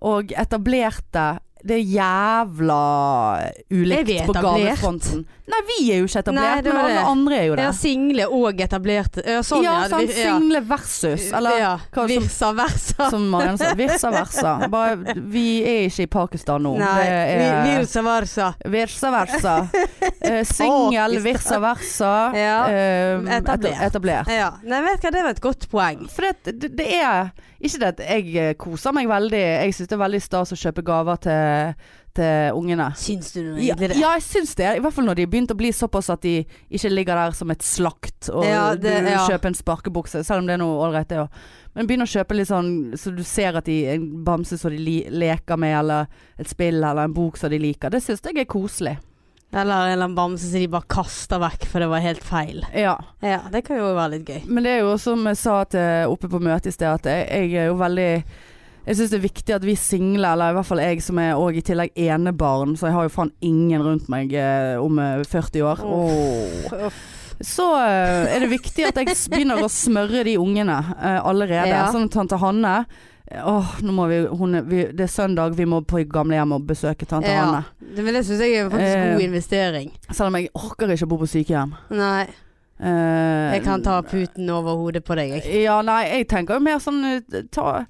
og etablerte. Det er jævla Er vi ulikt på etablert? gavefronten. Nei, vi er jo ikke Nei, etablert, det var men alle det. andre er jo det. Ja, single og etablerte. Ja, sånn, ja, ja. sant. Vi- ja. Single versus, eller ja. hva som- Virsa versa. som Marianne sa, virsa versa. Bare, vi er ikke i Pakistan nå. Nei, det vi- er virsa versa. Virsa versa. Eh, Singel, virsa versa. Ja, eh, etablert. eta- etablert. Ja. Nei, vet du hva, det var et godt poeng. For det, det, det er Ikke det at jeg eh, koser meg veldig. Jeg syns det er veldig stas å kjøpe gaver til, til ungene. Syns du nå Ja, egentlig det? ja, jeg syns det. I hvert fall når de har begynt å bli såpass at de ikke ligger der som et slakt og Ja, det- du ja. kjøper en sparkebukse, selv om det er noe ålreit, det òg. Men begynn å kjøpe litt sånn så du ser at de en bamse som de li, leker med, eller et spill eller en bok som de liker. Det syns jeg er koselig. Eller en eller annen bamse som de bare kaster vekk, for det var helt feil. Ja. Ja, Det kan jo være litt gøy. Men det er jo som jeg sa til, oppe på møtet i sted, at jeg, jeg er jo veldig jeg syns det er viktig at vi single, eller i hvert fall jeg som er og i tillegg enebarn, så jeg har jo faen ingen rundt meg eh, om eh, 40 år. Åh. Så eh, er det viktig at jeg s- begynner å smørre de ungene eh, allerede. Ja. Sånn at tante Hanne eh, Åh, nå må vi, hun, er- vi Det er søndag, vi må på gamlehjem og besøke tante Ja. Hanne. Det, men det syns jeg er faktisk Eh. god investering. Selv om jeg orker ikke å bo på sykehjem. Nei, Eh, jeg kan ta puten over hodet på deg, jeg. Ja, nei, jeg tenker jo mer sånn eh, ta,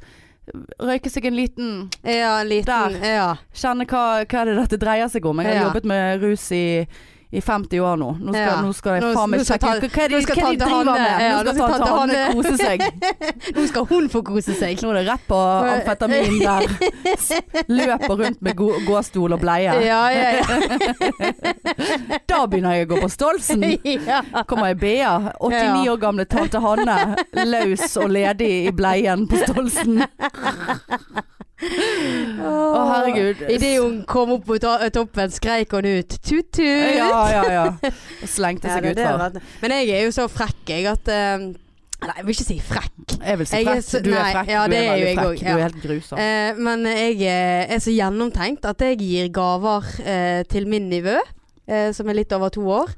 Røyke seg en liten Ja, en liten Ja. Kjenne hva, hva er det dette dreier seg om. Jeg har Ja. jobbet med rus i, i 50 år nå. Nå skal, Ja. nå skal jeg Nå- faen meg nå skal sjekke ta- ut hva er det nå skal hva er det de tante driver Hanne- med. ja, Nå skal nå skal tante tante Hanne Hanne- kose seg. Nå skal hun få kose seg. Nå er det rett på amfetamin der. S- Løper rundt med gå- gåstol og bleie. Ja, ja, ja. Da begynner jeg å gå på Stolsen. ja. Kommer ei Bea, 89 år gamle tante Hanne, løs og ledig i bleien på Stolsen. Å, herregud. Idet hun kom opp på ta- toppen, skreik hun ut tut-tut. Ja, ja, ja. Og slengte Ja, seg det- det har utfor. vært- Men jeg er jo så frekk, jeg, at eh, Nei, jeg vil ikke si frekk. Jeg vil si Jeg er frekk. så- Du er nei, frekk. ja, du er det er veldig jo jeg frekk. også, Du ja. er helt grusom. Eh, men jeg eh, er så gjennomtenkt at jeg gir gaver eh, til min nivå, eh, som er litt over to år.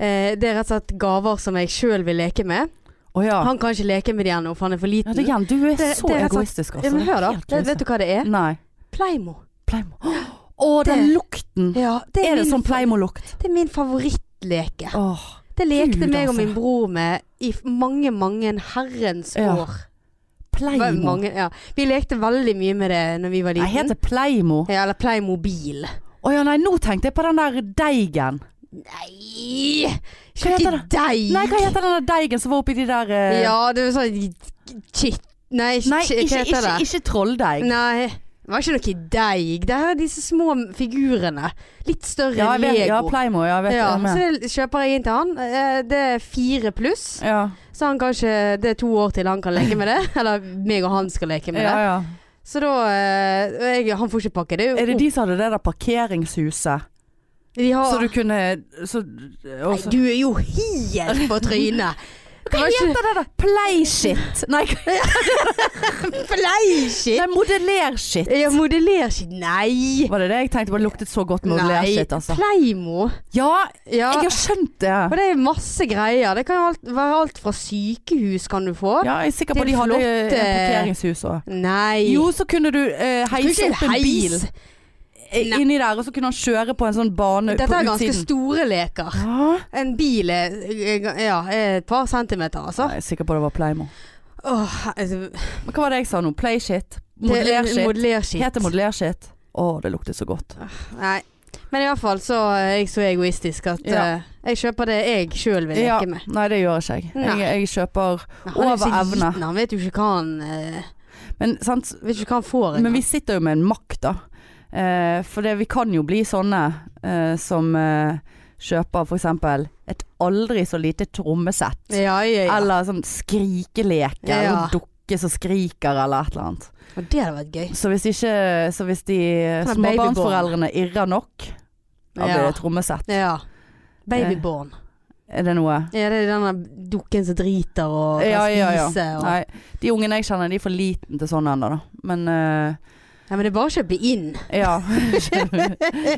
Eh, det er rett og slett gaver som jeg sjøl vil leke med. Å ja. Han kan ikke leke med de ennå, for han er for ja liten. det, Jan, du er Det- så det er rett og slett- egoistisk, altså. Ja, men Det er hør, da. helt Mm. Det, grusomt. vet du hva det er? Nei. Pleimo. Pleimo. Å, den Det- lukten! det Er det min- sånn pleimolukt? Det er min favorittleke. Åh. Det lekte Gud, meg og altså. min bror med i f- mange, mange herrens Ja. år. Hva- Pleimo. Mange, ja. Vi lekte veldig mye med det når vi var Nei, liten. heter pleimo. Ja, eller Playmobil. Å ja, nei, nå tenkte jeg på den der deigen. Nei! Hva heter Ikke deg! Nei, hva heter den der deigen som var oppi de der eh, Ja, det var sånn Shit. Nei, Nei, shit, ikke, hva ikke, heter det? ikke trolldeig. Nei. Det var ikke noe deig. Det her er disse små figurene. Litt større Ja, jeg enn vet, Lego. ja, pleimo. Ja, jeg vet Ja, jeg så med. det kjøper jeg inn til han. Eh, Det er fire pluss, Ja, så han kan ikke Det er to år til han kan leke med det. Eller meg og han skal leke med ja, ja. det. Så da eh, og jeg, Han får ikke pakke det. Er det opp. de som hadde det der parkeringshuset? De har Så du kunne så, og Nei, så- du er jo helt på trynet. Det var ikke heter det da? Playshit. Nei, fleishit. nei modellershit. Ja, modellershit. Nei. Var det det jeg tenkte? Bare luktet så godt Nei. modellershit, altså. Pleimo. Ja, Ja. jeg har skjønt det. Og det er masse greier. Det kan jo alt, være alt fra sykehus kan du få. Ja, jeg er sikker Det på er de hadde flott, eh, eh, parkeringshus òg. Nei. Jo, så kunne du eh, Du kan heise ikke opp en bil heise. eh, Nei. inni der, og så kunne han kjøre på en sånn bane Dette er på ganske utsiden. store leker. Ja. En bil er, ja, er et par centimeter, altså. Nei, jeg er sikker på det var Playmo. Åh, altså Men hva var det jeg sa nå? Playshit? det- Modellershit? Modellerskitt. Heter modellershit? Å, det lukter så godt. Nei. Men i hvert fall så er jeg så egoistisk at Ja. eh, jeg kjøper det jeg sjøl vil leke Ja. med. Nei, det gjør ikke jeg. Jeg, jeg kjøper Men Han er jo så Over evne. liten, han vet jo ikke hva han, eh, Men sant, vet ikke hva han får. Men engang. vi sitter jo med en makt, da. Eh, for det, vi kan jo bli sånne eh, som eh, kjøper f.eks. et aldri så lite trommesett. ja, ja, ja. Eller sånn skrikeleke, Ja. eller sånn dukke som skriker, eller et eller annet. Og det hadde vært gøy. Så hvis, ikke, så hvis de Sånn småbarnsforeldrene irrer nok, da blir det trommesett. ja. Babyborn. Er det noe? Ja, det er denne dukken som driter og kan Ja, ja, ja. spise. Og... Nei. Nei, de ungene jeg kjenner, de er for liten til sånn ennå, da. Men eh, men det er bare å kjøpe inn. Ja.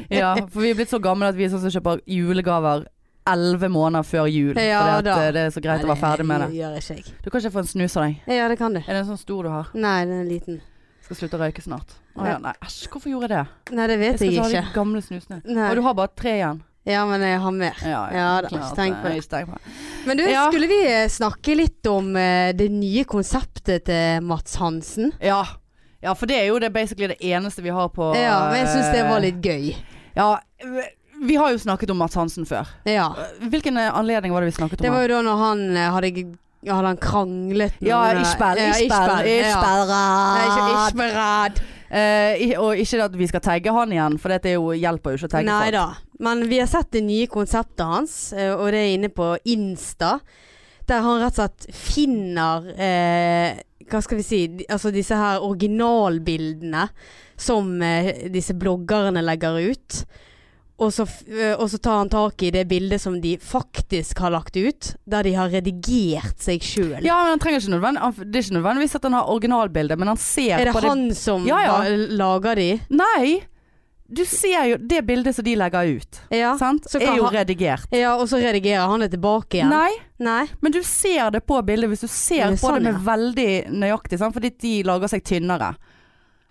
ja. For vi er blitt så gamle at vi er sånn som kjøper julegaver elleve måneder før jul. Ja, fordi at da. eh, det er så greit å være ferdig med det. gjør ikke jeg. Du kan ikke få en snus av deg. Ja, det kan du. Er det en sånn stor du har? Nei, den er liten. Skal slutte å røyke snart. Å ja, nei, æsj, hvorfor gjorde jeg det? Nei, det vet jeg, skal ta ikke. de gamle snusene. Nei. Og du har bare tre igjen. Ja, men jeg har mer. Ja, Ja da, klart ikke tenk på det. Ikke tenk på det. Men du, Ja. skulle vi eh, snakke litt om eh, det nye konseptet til Mats Hansen? Ja. ja, for det er jo det basically det eneste vi har på Ja, men jeg syns det eh, var litt gøy. Ja, vi har jo snakket om Mats Hansen før. Ja. Hvilken eh, anledning var det vi snakket om? Det han? var jo da når han eh, hadde, hadde han kranglet med ja, noen, eh, Ishbel, ja, Ishbel, Ja. Ishbel Nei, ikke Rad. Ishberad. Eh, i- og ikke at vi skal tagge han igjen, for dette er jo, hjelper jo ikke å tagge Nei folk. da. Men vi har sett det nye konseptet hans, eh, og det er inne på Insta. Der han rett og slett finner eh, Hva skal vi si de- Altså disse her originalbildene som eh, disse bloggerne legger ut. Og så, f- eh, og så tar han tak i det bildet som de faktisk har lagt ut, der de har redigert seg sjøl. Ja, men han trenger ikke nødvendig, han, Det er ikke nødvendigvis at han har originalbildet, men han ser er det på det han som Ja, ja. har- lager de? Nei! Du ser jo det bildet som de legger ut, Ja. sant? Ah, så kan er jo han- redigert. ja, og så redigerer han det tilbake igjen? Nei, Nei. men du ser det på bildet hvis du ser Det er på sånn, det med ja. veldig nøyaktig, sant? fordi de lager seg tynnere.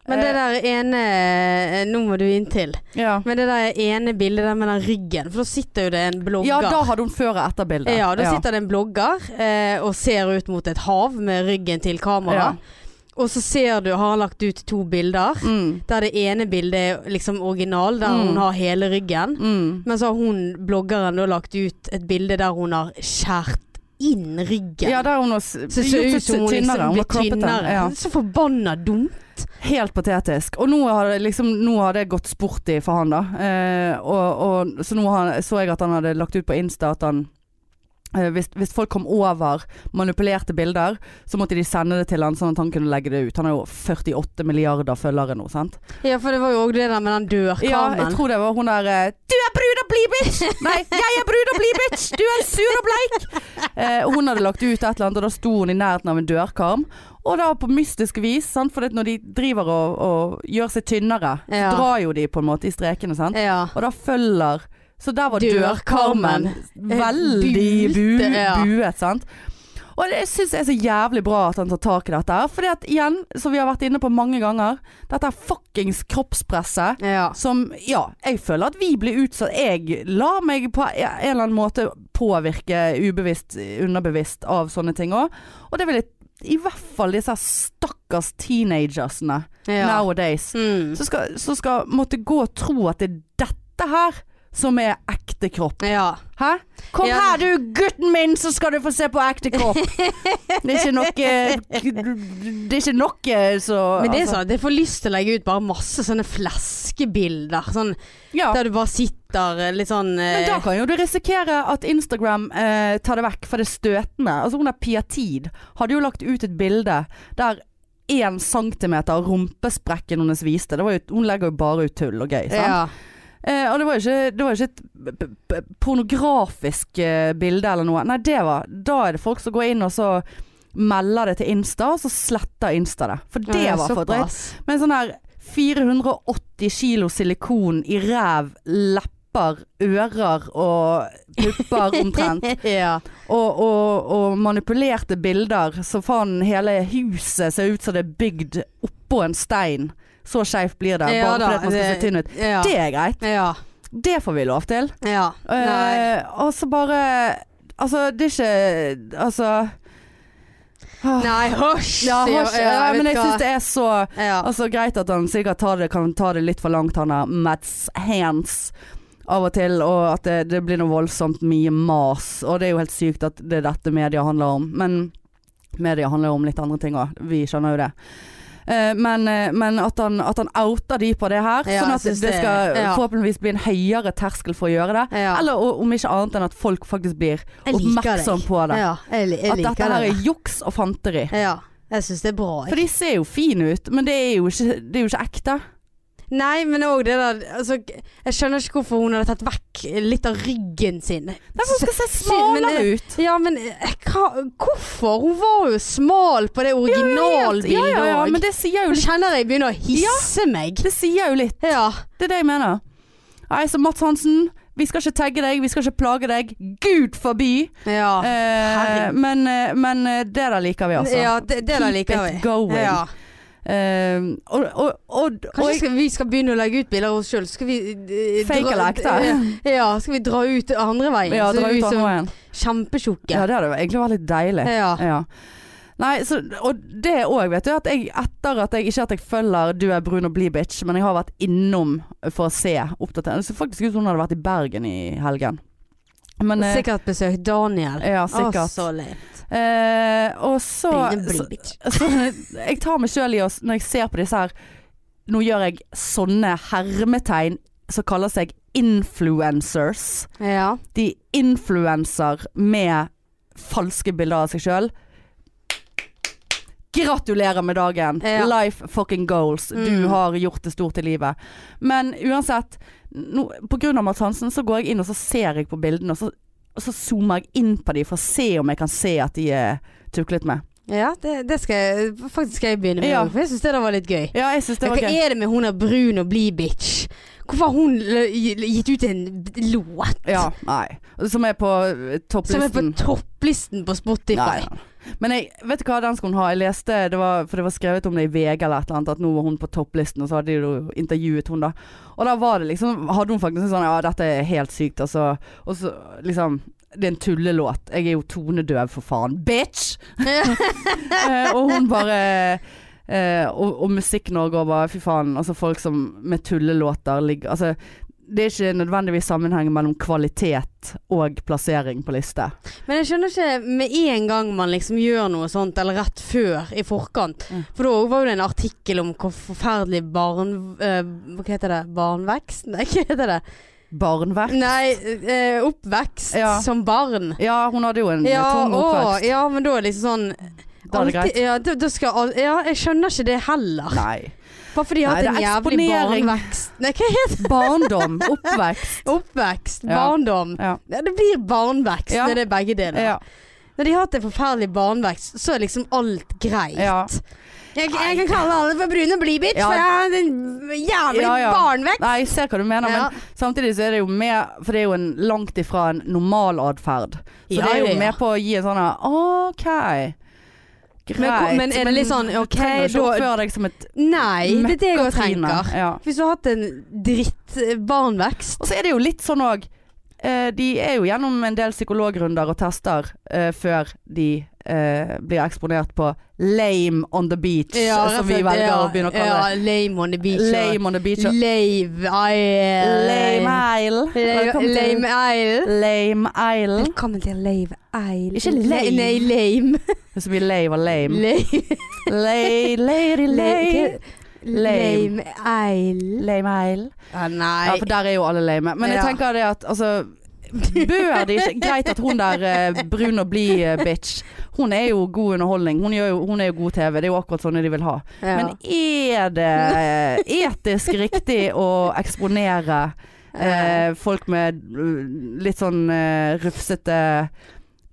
Men det Eh, der ene eh, Nå må du inntil. ja. Men det der ene bildet der med den ryggen, for da sitter jo det en blogger ja, da hadde hun før- og etterbildet. Ja, da sitter det en blogger eh, og ser ut mot et hav med ryggen til kamera. Og så ser du, har han lagt ut to bilder. Mm. Der det ene bildet er liksom original, der Mm. hun har hele ryggen. Mm. Men så har hun, bloggeren, da lagt ut et bilde der hun har skjært inn ryggen. Ja, der hun har s- så det ser gjort ut som hun tynnere. Hun liksom har blir kroppet den. tynnere. Ja. Så forbanna dumt. Helt patetisk. Og nå har det, liksom, nå har det gått sporty for han, da. Eh, og, og, så nå har, så jeg at han hadde lagt ut på Insta at han eh, hvis, hvis folk kom over manipulerte bilder, så måtte de sende det til han sånn at han kunne legge det ut. Han har jo 48 milliarder følgere nå, sant? Ja, for det var jo òg det der med den Ja, dørkarmen. jeg tror det var hun der eh, Du er brun og blid, bitch! Nei, jeg er brun og blid, bitch! Du er sur og bleik! Eh, hun hadde lagt ut et eller annet, og da sto hun i nærheten av en dørkarm. Og da på mystisk vis, sant? for det at når de driver og, og gjør seg tynnere, Ja. så drar jo de på en måte i strekene, sant. Ja. Og da følger Så der var Dørkarmen. dørkarmen veldig bu, Buete, ja. buet, sant. Og det syns jeg er så jævlig bra at han tar tak i dette her. Fordi at igjen, som vi har vært inne på mange ganger, dette er fuckings kroppspresset. ja. Som, ja, jeg føler at vi blir utsatt Jeg lar meg på en eller annen måte påvirke ubevisst, underbevisst av sånne ting òg. Og det vil jeg i hvert fall disse stakkars teenagersene ja. nowadays. Mm. Som skal, som skal måtte gå og tro at det er dette her som er ekte kropp. ja. Hæ? Kom Ja, her du gutten min, så skal du få se på ekte kropp. Det er ikke noe eh, Det er ikke noe så Men det er altså, sånn at jeg får lyst til å legge ut bare masse sånne fleskebilder. Sånn, ja. Der du bare sitter eh, litt sånn eh, Men da kan jo du risikere at Instagram eh, tar det vekk, for det er støtende. Altså Hun der Pia Tid hadde jo lagt ut et bilde der én centimeter av rumpesprekken hennes viste. Det var jo, hun legger jo bare ut tull og gøy. Sant? ja. Eh, og det var jo ikke, det var jo ikke et b- b- b- pornografisk eh, bilde eller noe. Nei, det var Da er det folk som går inn og så melder det til Insta, og så sletter Insta det. For det Ja, var for drøyt. såpass. Med en sånn her 480 kilo silikon i ræv, lepper, ører og pupper omtrent. ja. Og, og, og manipulerte bilder så faen hele huset ser ut som det er bygd oppå en stein. Så skeivt blir det, Ja bare da, fordi at man skal det- se tynn ut. Ja. Det er greit. ja. Det får vi lov til. ja. Nei. Eh, og så bare Altså, det er ikke Altså ah. Nei, hosj! Ja, sier- hasj, ja, men jeg vet syns hva. det er så ja. Altså Greit at han sikkert tar det, kan ta det litt for langt, han er Mads Hands av og til, og at det, det blir noe voldsomt mye mas. Og det er jo helt sykt at det er dette media handler om, men media handler jo om litt andre ting òg, vi skjønner jo det. Eh, men eh, men at, han, at han outer de på det her, Ja, sånn jeg at det, synes det- skal ja. forhåpentligvis bli en høyere terskel for å gjøre det. ja. Eller o- om ikke annet enn at folk faktisk blir Jeg liker oppmerksom deg. på det. Ja, jeg, li- jeg at dette liker her det. er juks og fanteri. Ja, jeg syns det er bra. jeg. For de ser jo fine ut, men det er jo ikke, det er jo ikke ekte. Nei, men òg det der altså, Jeg skjønner ikke hvorfor hun hadde tatt vekk litt av ryggen sin. Nei, for hun skal se Se- smalere men, ut. Ja, men eh, hva, hvorfor? Hun var jo smal på det originalbildet ja, ja, òg. ja, men det sier jo Nå litt. kjenner jeg begynner å hisse meg. Det sier jo litt. Ja. Det er det jeg mener. Nei, så Mats Hansen, vi skal ikke tagge deg, vi skal ikke plage deg. Gud forbi! Ja, Eh, herregud. men, eh, men eh, det der liker vi, altså. ja det, det der liker Keep it vi. going. Ja. Eh, og, og, og, og Kanskje skal, vi skal begynne å legge ut bilder av oss sjøl. Skal vi eh, Fake dra- eller ekte? Ja, skal vi dra ut andre veien? ja, så dra vi ut som andre veien. Kjempetjukke. Ja, det hadde egentlig vært litt deilig. Ja. Ja. Nei, så, og det òg, vet du. At jeg, etter at jeg ikke at jeg følger 'Du er brun og bli bitch', men jeg har vært innom for å se oppdatering. Det så faktisk ut som hun hadde vært i Bergen i helgen. Men eh, Sikkert besøkt Daniel. Ja, Å, sikkert. så leit. Eh, og så, Brune så, blir bitch. så Jeg tar meg sjøl i å Når jeg ser på disse her Nå gjør jeg sånne hermetegn som kaller seg influencers. Ja. De influenser med falske bilder av seg sjøl. Gratulerer med dagen. Ja. Life fucking goals. Du Mm. har gjort det stort i livet. Men uansett, nå- på grunn av Mads Hansen, så går jeg inn og så ser jeg på bildene, og så, og så zoomer jeg inn på de for å se om jeg kan se at de er tuklet med. Ja, det, det skal jeg, faktisk skal jeg begynne med. Ja. For jeg syns det der var litt gøy. Ja, jeg syns det Men var hva gøy. er det med hun er brun og blid bitch? Hvorfor har hun l- gitt ut en låt Ja, nei. Som er på eh, som topplisten. er på topplisten på Spotify? Nei. Men jeg, vet du hva den skal hun ha? Jeg leste, det var, for det var skrevet om det i VG eller et eller annet, at nå var hun på topplisten, og så hadde de jo intervjuet hun da. Og da var det liksom, hadde hun faktisk en sånn, ja dette er helt sykt, altså. Og så liksom, det er en tullelåt. Jeg er jo tonedøv for faen. Bitch! Eh, og hun bare... eh, og, og Musikk-Norge og bare, fy faen, altså folk som med tullelåter ligger, altså det er ikke nødvendigvis sammenheng mellom kvalitet og plassering på liste. Men jeg skjønner ikke med en gang man liksom gjør noe sånt, eller rett før, i forkant. Mm. For da var jo det en artikkel om hvor forferdelig barn... eh, hva heter det? Barnvekst? Nei, hva heter det? Barnverk. Nei, eh, oppvekst Ja. som barn. Ja, hun hadde jo en Ja, tung å, oppvekst. ja, men da er det liksom sånn Da er det Alltid- greit. Ja, da, da skal, al- ja, jeg skjønner ikke det heller. Nei. Bare fordi jeg Nei, har hatt en det er jævlig eksponering. barnevekst. Nei, hva heter Barndom, oppvekst. det? Oppvekst, Ja. barndom. Ja. Ja, det blir barnevekst Ja. når det er begge deler. Ja. Når de har hatt en forferdelig barnevekst, så er liksom alt greit. Ja. Jeg, jeg kan kalle alle for brune blybitch, Ja. for jeg har hatt en jævlig Ja, ja. barnevekst. Nei, jeg ser hva du mener, Ja. men samtidig så er det jo med For det er jo en, langt ifra en normal atferd. Så Ja, det er jo ja, ja. med på å gi en sånn her, OK. Greit. Men hvor- men er det litt sånn, ok, du trenger ikke da- oppføre deg som et Nei, det er det jeg også møkkatrine. tenker. Ja. Hvis du har hatt en dritt eh, barnevekst Og så er det jo litt sånn òg De er jo gjennom en del psykologrunder og tester eh, før de eh, blir eksponert på 'lame on the beach', som vi velger å begynne å kalle det. det. Ja, lame on the beach. og- Lame on the beach. og- Lave eh, Isle. Lame Isle. Velkommen til Lame Isle. Lame Isle. Velkommen til Lave Isle. Ikke lame. Nei, nei, lame. Det er så mye lave og lame. Lame. Lay, lady, lay. Lame. Lame Isle. Lame Isle. Ja, Ah, nei. for der er jo alle lame. Men jeg Ja. tenker det at altså Bør det ikke Greit at hun der eh, brun og blid eh, bitch, hun er jo god underholdning. Hun, gjør jo, hun er jo god TV. Det er jo akkurat sånne de vil ha. Ja. Men er det eh, etisk riktig å eksponere Eh, folk med eh, litt sånn eh, rufsete,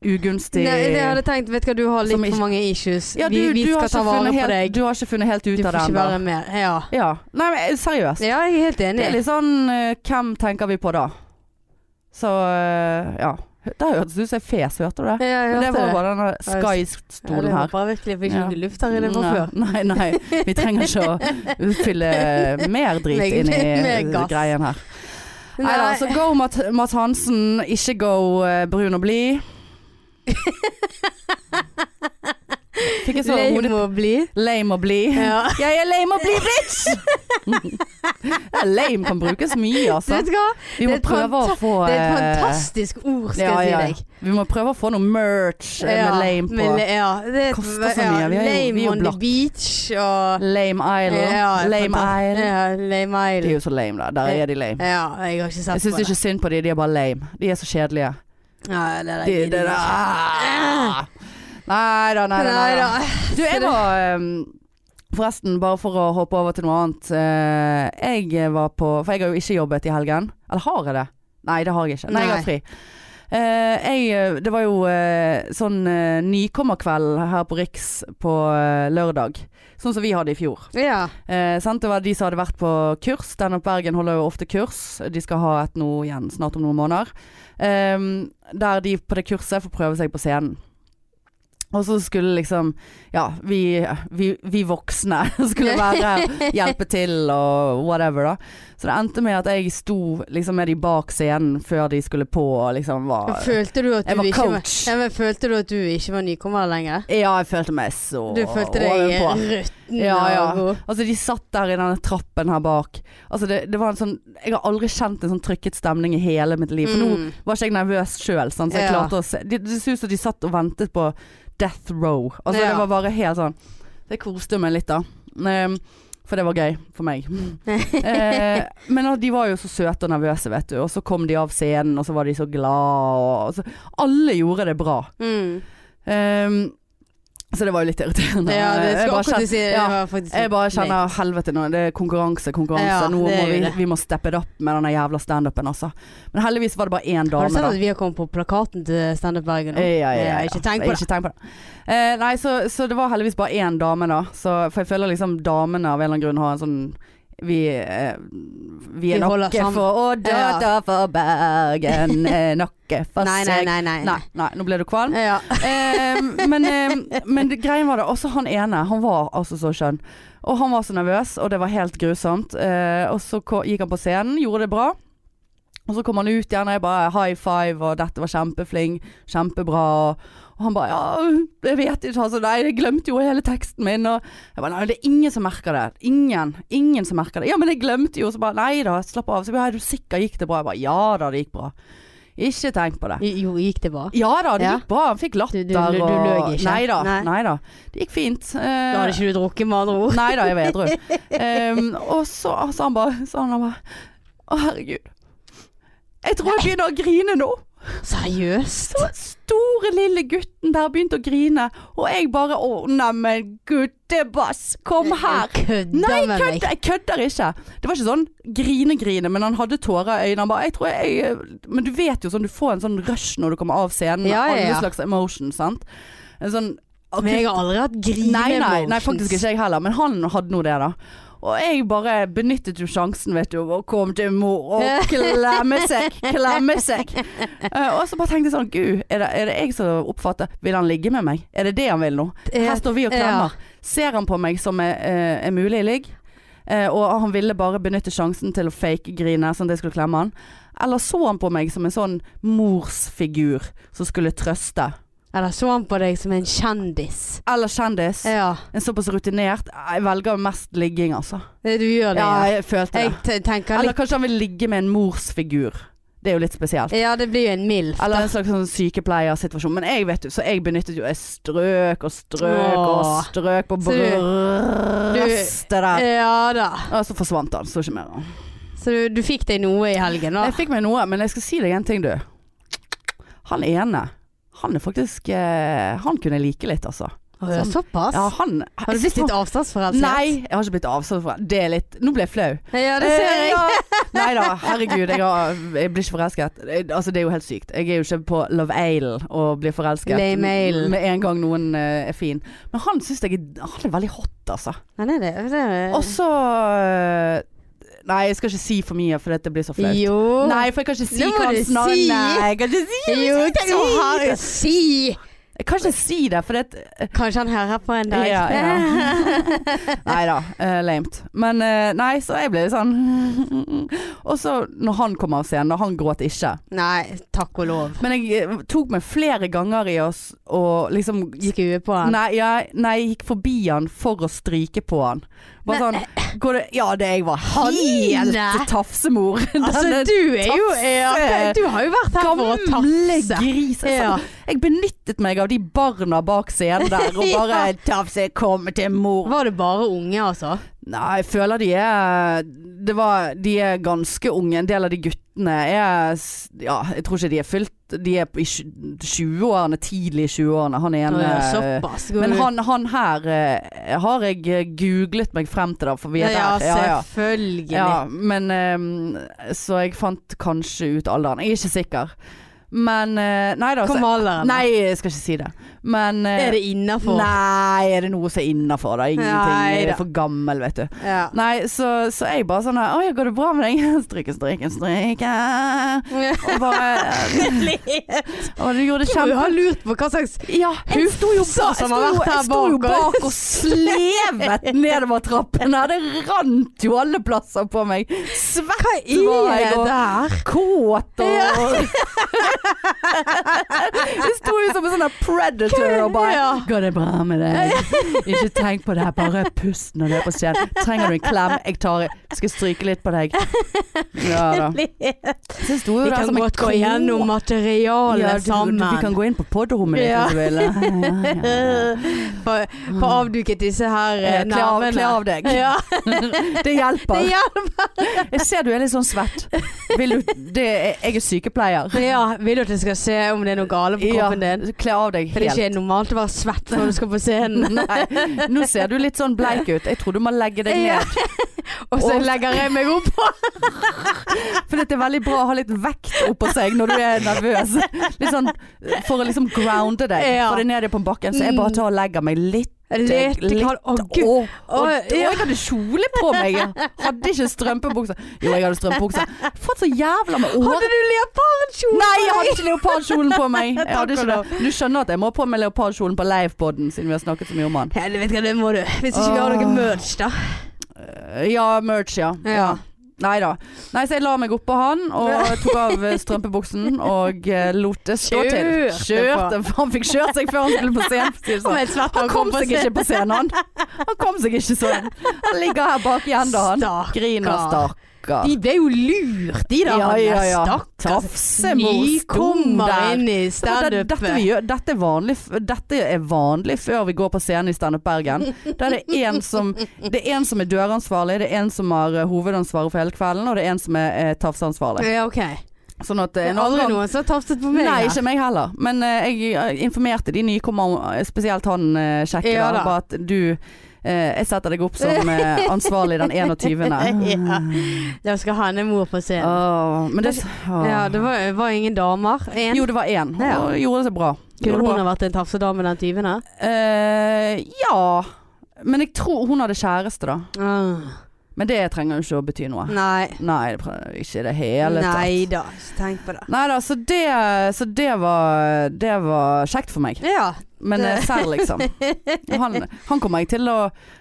ugunstig Nei, jeg hadde tenkt, vet du hva, du har litt Som ikke- for mange issues. Ja, vi, du, vi du, har ikke skal ta vare funnet på helt, deg. du har ikke funnet helt ut Du av får det ikke ennå. være mer. Ja. Ja. Nei, men eh, seriøst. ja, jeg er helt Det enig. er litt sånn eh, Hvem tenker vi på da? Så eh, ja. Det hørtes ut som jeg fes, hørte du det? Ja, jeg Men det hørte var det. bare denne Ja, det Sky-stolen her. håper jeg virkelig, for ikke Ja. noe luft her inne fra Nei, før. Nei, nei. Vi trenger ikke å utfylle mer drit Meg- inn i mer gass. greien her. Nei da, altså, så go Matt, Matt Hansen, ikke go eh, brun og blid. Fikk jeg så Lame hodet å bli. Lame og blid. Ja. Jeg er lame og blid, bitch! ja, lame kan brukes mye, Du altså. vet hva? Vi må det er et prøve å fanta- få Det er et eh, fantastisk ord, skal ja, jeg ja. si deg. Vi må prøve å få noe merch eh, Ja, med lame på. le- ja, det er- Koster så mye. Vi er jo- lame vi er jo on blakk. the beach og Lame Island. Ja, lame fanta- Island. Ja, De lame er Isle. jo så lame, da. Der er de lame. Ja, jeg har ikke sett Jeg syns ikke synd på de, de er bare lame. De er så kjedelige. Ja, det er De, de, de, ah! Nei da, nei da. Nei da. Du, jeg det- var ehm, Forresten, bare for å hoppe over til noe annet. eh, jeg var på For jeg har jo ikke jobbet i helgen. Eller har jeg det? Nei, det har jeg ikke. Nei, jeg Nei. har fri. Eh, jeg, eh, det var jo eh, sånn eh, nykommerkveld her på Riks på eh, lørdag. Sånn som vi hadde i fjor. Ja. Eh, sant? Det var de som hadde vært på kurs. Standup Bergen holder jo ofte kurs. De skal ha et nå igjen snart om noen måneder. Ehm, der de på det kurset får prøve seg på scenen. Og så skulle liksom Ja, vi, vi, vi voksne skulle være hjelpe til og whatever, da. Så det endte med at jeg sto liksom med de bak scenen før de skulle på og liksom var Følte du at du Jeg var ikke coach. Var, ja, men følte du at du ikke var nykommer lenger? Ja, jeg følte meg så Du følte deg ovenpå. rutten Ja, ja. og god. Altså de satt der i denne trappen her bak Altså det, det var en sånn Jeg har aldri kjent en sånn trykket stemning i hele mitt liv For Mm. nå var ikke jeg nervøs selv sant? Så jeg Ja. klarte å se Det det så ut som de satt og ventet på Death Row Altså Ja. det var bare helt sånn Så jeg koste meg litt da Ehm, For det var gøy for meg Eh, Men altså, de var jo så søte og nervøse vet du Og så kom de av scenen Og så var de så glad og, og så, Alle gjorde det bra Mm. Ehm, Så det var jo litt irriterende Ja, det Jeg skal bare akkurat kjente- si. det ja. var faktisk jeg bare litt- kjenner helvete nå. Det er konkurranse, konkurranse. Ja, nå må det er jo vi, det. vi må steppe det opp med denne jævla standupen, altså. Men heldigvis var det bare én Har du dame, sett da. at vi har kommet på plakaten til Standup Bergen? nå? Ja, ja, ja, Jeg har ja. ikke tenkt Jeg på har det. ikke tenkt på det. Eh, nei, så, så det var heldigvis bare én dame, da. Så, for jeg føler liksom damene av en eller annen grunn har en sånn vi, eh, vi Vi er holder noe sammen. for Å, data for Bergen er noe for Nei, nei, seg nei. nei. Nei, nei, nå ble du kvalm. Ja. Eh, men eh, men det, greien var det Også han ene, han var altså så skjønn. Og han var så nervøs, og det var helt grusomt. Eh, og så ko- gikk han på scenen, gjorde det bra. Og så kom han ut igjen, og jeg bare high five, og dette var kjempeflink, kjempebra. Og, og han bare ja, jeg vet ikke, altså. Nei, jeg glemte jo hele teksten min. Og jeg bare nei, det er ingen som merker det. Ingen. Ingen som merker det. Ja, men jeg glemte jo. Så bare nei da, slapp av. Så jeg bare, er du sikker gikk det bra? Jeg bare ja da, det gikk bra. Ikke tenk på det. Jo, gikk det bra? Ja da, det Ja. gikk bra. Han fikk latter Du- du- du- du løy ikke? Nei da. Nei. Det gikk fint. Da hadde ikke du drukket, med andre ord. Nei da, jeg var edru. Em, og så altså, han bare så han bare Å, herregud. Jeg tror jeg begynner å grine nå. Seriøst? Den store, lille gutten der begynte å grine, og jeg bare Å, neimen, guttebass, kom her. Jeg Kødder Nei, med meg. kødder, jeg kødder ikke. Det var ikke sånn grine-grine, men han hadde tårer i øynene. Han bare, jeg tror jeg, men du vet jo sånn, du får en sånn rush når du kommer av scenen. med Ja, ja, ja. Alle slags emotions, sant? En sånn Men jeg har aldri hatt grine nei, nei, nei, faktisk ikke jeg heller, men han hadde nå det, da. Og jeg bare benyttet jo sjansen, vet du, og kom til mor og klemme seg, klemme seg. Eh, og så bare tenkte jeg sånn, gud, er det, er det jeg som oppfatter Vil han ligge med meg? Er det det han vil nå? Eh, Her står vi og klemmer. Eh, Ser han på meg som er, eh, er mulig ligg? Eh, og han ville bare benytte sjansen til å fake-grine, sånn at jeg skulle klemme han. Eller så han på meg som en sånn morsfigur som skulle trøste? Eller så han på deg som en kjendis. Eller kjendis? Ja, En såpass rutinert Jeg velger mest ligging, altså. det Eh, du gjør det. Ja, ja. jeg følte Jeg det. te- tenker Eller litt kanskje han vil ligge med en morsfigur. Det er jo litt spesielt. Ja, det blir jo en MILF. da. Eller en slags sånn sykepleiersituasjon. Men jeg vet jo, så jeg benyttet jo Jeg strøk og strøk og Åh. strøk på Så du- brøstet der. Ja da. Og så forsvant han. Så ikke mer. av han. Så du, du fikk deg noe i helgen, da? Jeg fikk meg noe, men jeg skal si deg en ting, du. Han ene, han er faktisk eh, Han kunne jeg like litt, altså. Å, ja, Såpass? Ja, han Har sånn- du blitt litt avstandsforelsket? Nei, jeg har ikke blitt avstand fra det. er litt Nå ble jeg flau. Ja, det ser Eh, jeg. ja. Nei da, herregud. Jeg, har, jeg blir ikke forelsket. Det- Altså, det er jo helt sykt. Jeg er jo ikke på Love Isle og blir forelsket Lame Ale. med en gang noen eh, er fin. Men han syns jeg er, han er veldig hot, altså. Nei, nei, det, det Og så eh, Nei, jeg skal ikke si for mye, for dette blir så flaut. Jo. Nei, for jeg kan ikke si Det må hva du hans navn si. Nei, jeg kan ikke si det. jo, så har Si! Jeg kan ikke si det, for det Kanskje han hører på en dag. Ja, Nei da, eh, lamet. Men eh, nei, så jeg ble litt sånn Og så når han kommer av scenen, og han gråt ikke. nei, takk og lov. Men jeg eh, tok meg flere ganger i oss og liksom gikk Skue på han. Nei, jeg, nei, jeg gikk forbi han for å stryke på han. Bare sånn går det, Ja, det jeg var helt Nei. tafsemor. Altså, du er jo ja, tafse- Du har jo vært her for å Gamle tafse. gris. altså. Jeg, Ja. jeg benyttet meg av de barna bak scenen der og bare Tafse, kom til mor. Var det bare unge, altså? Nei, jeg føler de er det var, De er ganske unge. En del av de guttene er s- Ja, jeg tror ikke de er fylt De er i tj- 20-årene, tidlig i 20-årene. Han ene eh, Ja, Såpass. Går Men du- han, han her eh, har jeg eh, googlet meg frem til, da, for vi ja, er der. Ja, ja. selvfølgelig. Ja, men eh, Så jeg fant kanskje ut alderen. Jeg er ikke sikker. Men eh, Nei da. Kom Så, alderen. da. nei, jeg skal ikke si det. Men eh, Er det innafor? Nei, er det noe som er innafor, da? Ingenting. Nei Jeg da. er for gammel, vet du. Ja. Nei, så, så jeg bare sånn her Å ja, går det bra med deg? Stryke, stryke, stryke. Og bare Å, du gjorde det Du kjempe... har lurt på hva slags Ja, jeg Huff, sto jo sa bak, jeg sto, som har vært her jeg sto jo bak bak og slevet nedover trappen her. Det rant jo alle plasser på meg. Svett Hva var er jeg, det og der? kåt og Jeg sto jo som en sånn her predator og bare Ja. Går det bra med deg? Ikke tenk på det her, bare pust når du er på scenen. Trenger du en klem? Jeg tar Skal stryke litt på deg. Ja da. Så jeg sto jo Vi der kan som en godt gå kåt. gjennom materialet Ja, du- sammen. Vi kan gå inn på podrommet ditt Ja. hvis du vil. Ja, ja, ja. Få få avduket disse her eh, Eh, Kle av, nervene. kle av deg. Ja, Det det hjelper. hjelper. Jeg ser du er litt sånn svett. Vil du, det, er- jeg er sykepleier. Ja, vil du at jeg skal se om det er noe gale på kroppen din? kle av deg For det er helt. ikke normalt å være svett før du skal på scenen. Nei, nå ser du litt sånn bleik ut. Jeg tror du må legge deg Ja. ned. Og så Og- legger jeg meg opp. For det er veldig bra å ha litt vekt oppå seg når du er nervøs. Litt sånn, for å liksom grounde deg. Ja. Få deg ned på bakken. Så jeg bare tar og legger meg litt. Litt kald. Å, gud. Og, og, Å, og jeg hadde kjole på meg. Jeg hadde ikke strømpebukse. Jo, jeg hadde strømpebukse. Fått så jævla med år. Hadde du leopardkjole? Nei, jeg hadde ikke leopardkjolen på meg. Jeg hadde Takk ikke og det. Du skjønner at jeg må ha på meg leopardkjolen på livepodden, siden vi har snakket så mye om han. Ja, det vet jeg, det må du. Hvis ikke vi har noe Åh. merch, da. Eh, Ja, merch, ja. Ja. Nei da. Nei, så jeg la meg oppå han og tok av eh, strømpebuksen og eh, lot det stå til. Kjørte Kjørte. Han fikk kjørt seg før han skulle på scenen. for å si det Han sånn. er svett Han kom seg ikke på scenen, han. Han kom seg ikke sånn. Han ligger her bak i enda, han. Stakkar. Griner, stakkar. De ble jo lurt, de da. Ja, ja, ja. Stakkars Tafsemor, nykommer stum der. inn i Og det- Dette, vi standupet. gjør, dette, er vanlig, f- dette er vanlig før vi går på scenen i Standup Bergen. Der er det en som, det er en som er døransvarlig, det er en som har eh, hovedansvaret for hele kvelden, og det er en som er eh, tafseansvarlig. Ja, OK. Sånn at eh, Det en er aldri annen gang- noen som har tafset på meg. Nei, her. ikke meg heller. Men eh, jeg eh, informerte de nykommerne, eh, spesielt han eh, kjekke, Ja da, da. på at du eh, Jeg setter deg opp som eh, ansvarlig den 21. ja. Da skal han en mor på scenen. Åh, men det Mm. åh. Ja, det var, var ingen damer. En. Jo, det var én, Ja. og gjorde det så bra. Gjorde Kunne det bra. hun ha vært en tafsedame den tyven her? Eh, ja. Men jeg tror hun hadde kjæreste, da. Ah. Men det trenger jo ikke å bety noe. Nei. Nei, det pre- ikke i det hele Nei tatt. da, ikke tenk på det. Nei da, så, det, så det, var, det var kjekt for meg. Ja, Men Det- eh, serr, liksom. Han, han kommer jeg til å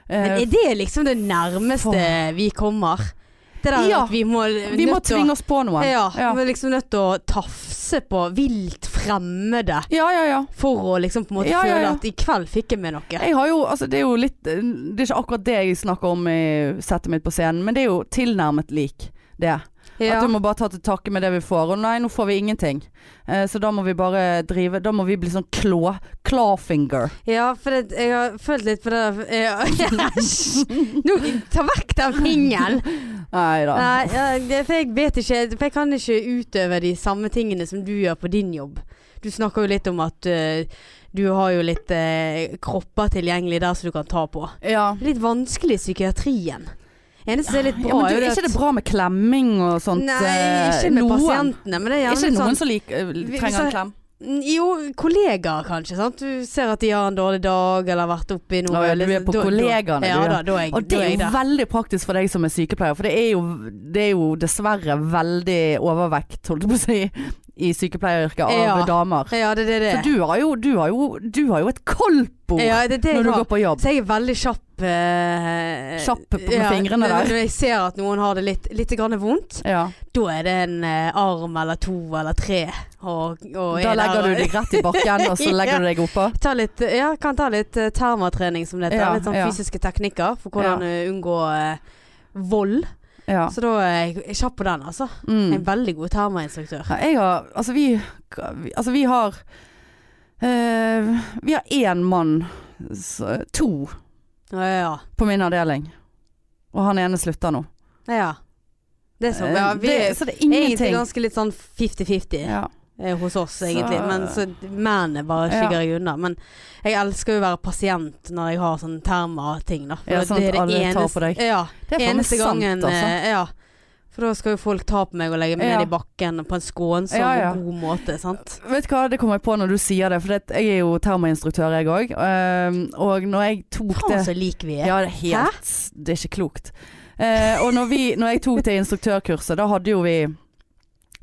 men eh, er det liksom det nærmeste vi kommer? Det der Ja, at vi må, Vi må tvinge oss på noen. Ja, Ja. vi er liksom nødt til å tafse på vilt fremmede ja, ja. ja. for å liksom på en måte Ja, ja, føle ja. at i kveld fikk jeg med noe. Jeg har jo, altså det er jo litt Det er ikke akkurat det jeg snakker om i settet mitt på scenen, men det er jo tilnærmet lik det. Ja. At du må bare ta til takke med det vi får. Og nei, nå får vi ingenting. Eh, så da må vi bare drive Da må vi bli sånn klå. Clawfinger. Ja, for det, jeg har følt litt på det der ja. Æsj! Nå, ta vekk den fingeren! Nei da. Nei, ja, det- for jeg vet ikke For jeg kan ikke utøve de samme tingene som du gjør på din jobb. Du snakker jo litt om at eh, du har jo litt eh, kropper tilgjengelig der som du kan ta på. Ja. Litt vanskelig i psykiatrien. Eneste som er litt Ja, bra, men er du, jo er det ikke at det bra med klemming og sånt? Nei, eh, ikke med noen? pasientene, men det er Er gjerne ikke det noen sånn som lik- eh, Vi- trenger så- en klem? Jo, kollegaer kanskje, sant. Du ser at de har en dårlig dag, eller har vært oppi noe liksom, Å, ja, du er på da- da- kollegaene, du, Ja ja. da, da er jeg, Og det da er jeg jo der. veldig praktisk for deg som er sykepleier, for det er jo, det er jo dessverre veldig overvekt, holdt jeg på å si, i sykepleieryrket av Ja. damer. Ja, det, det, er det. For du har jo, du har jo, du har jo et koldtbord ja, det, er det jeg når du har. går på jobb. Så jeg er veldig kjapp eh, Kjapp på- med fingrene der. når- Når jeg ser at noen har det litt, litt grann vondt, Ja. da er det en eh, arm eller to eller tre. Og, og Da er der, legger du deg rett i bakken, og så legger du deg oppå. Ta litt, ja, kan ta litt eh, termatrening som det heter. Ja, litt sånn ja. fysiske teknikker for hvordan Ja. eh, unngå eh, vold. Ja. Så da er jeg jeg er kjapp på den, altså. Jeg er Mm. en veldig god termainstruktør. Ja, Jeg har Altså, vi, altså, vi har eh, Vi har én mann s- To Ja, ja, på min avdeling. Og han ene slutter nå. ja. ja. Det er så bra. Eh, Vi det, er så det er egentlig ingenting. ganske litt sånn 50-50. Ja. eh, hos oss, Så- egentlig. Men så mennene bare Ja. skygger jeg unna. Men jeg elsker jo å være pasient når jeg har sånn termating, da. Ja, sånn at alle tar på deg. Ja, Det er faen meg eneste sant, gangen altså. eh, Ja. For da skal jo folk ta på meg og legge meg Ja. ned i bakken på en skånsom Ja, og ja. god måte, sant. eh, Vet du hva, det kommer jeg på når du sier det, for det, jeg er jo termoinstruktør jeg òg. og når jeg tok Faen, det så lik vi er. Ja, det er helt Det er ikke klokt. Eh, og når, vi, når jeg tok det instruktørkurset, da hadde jo vi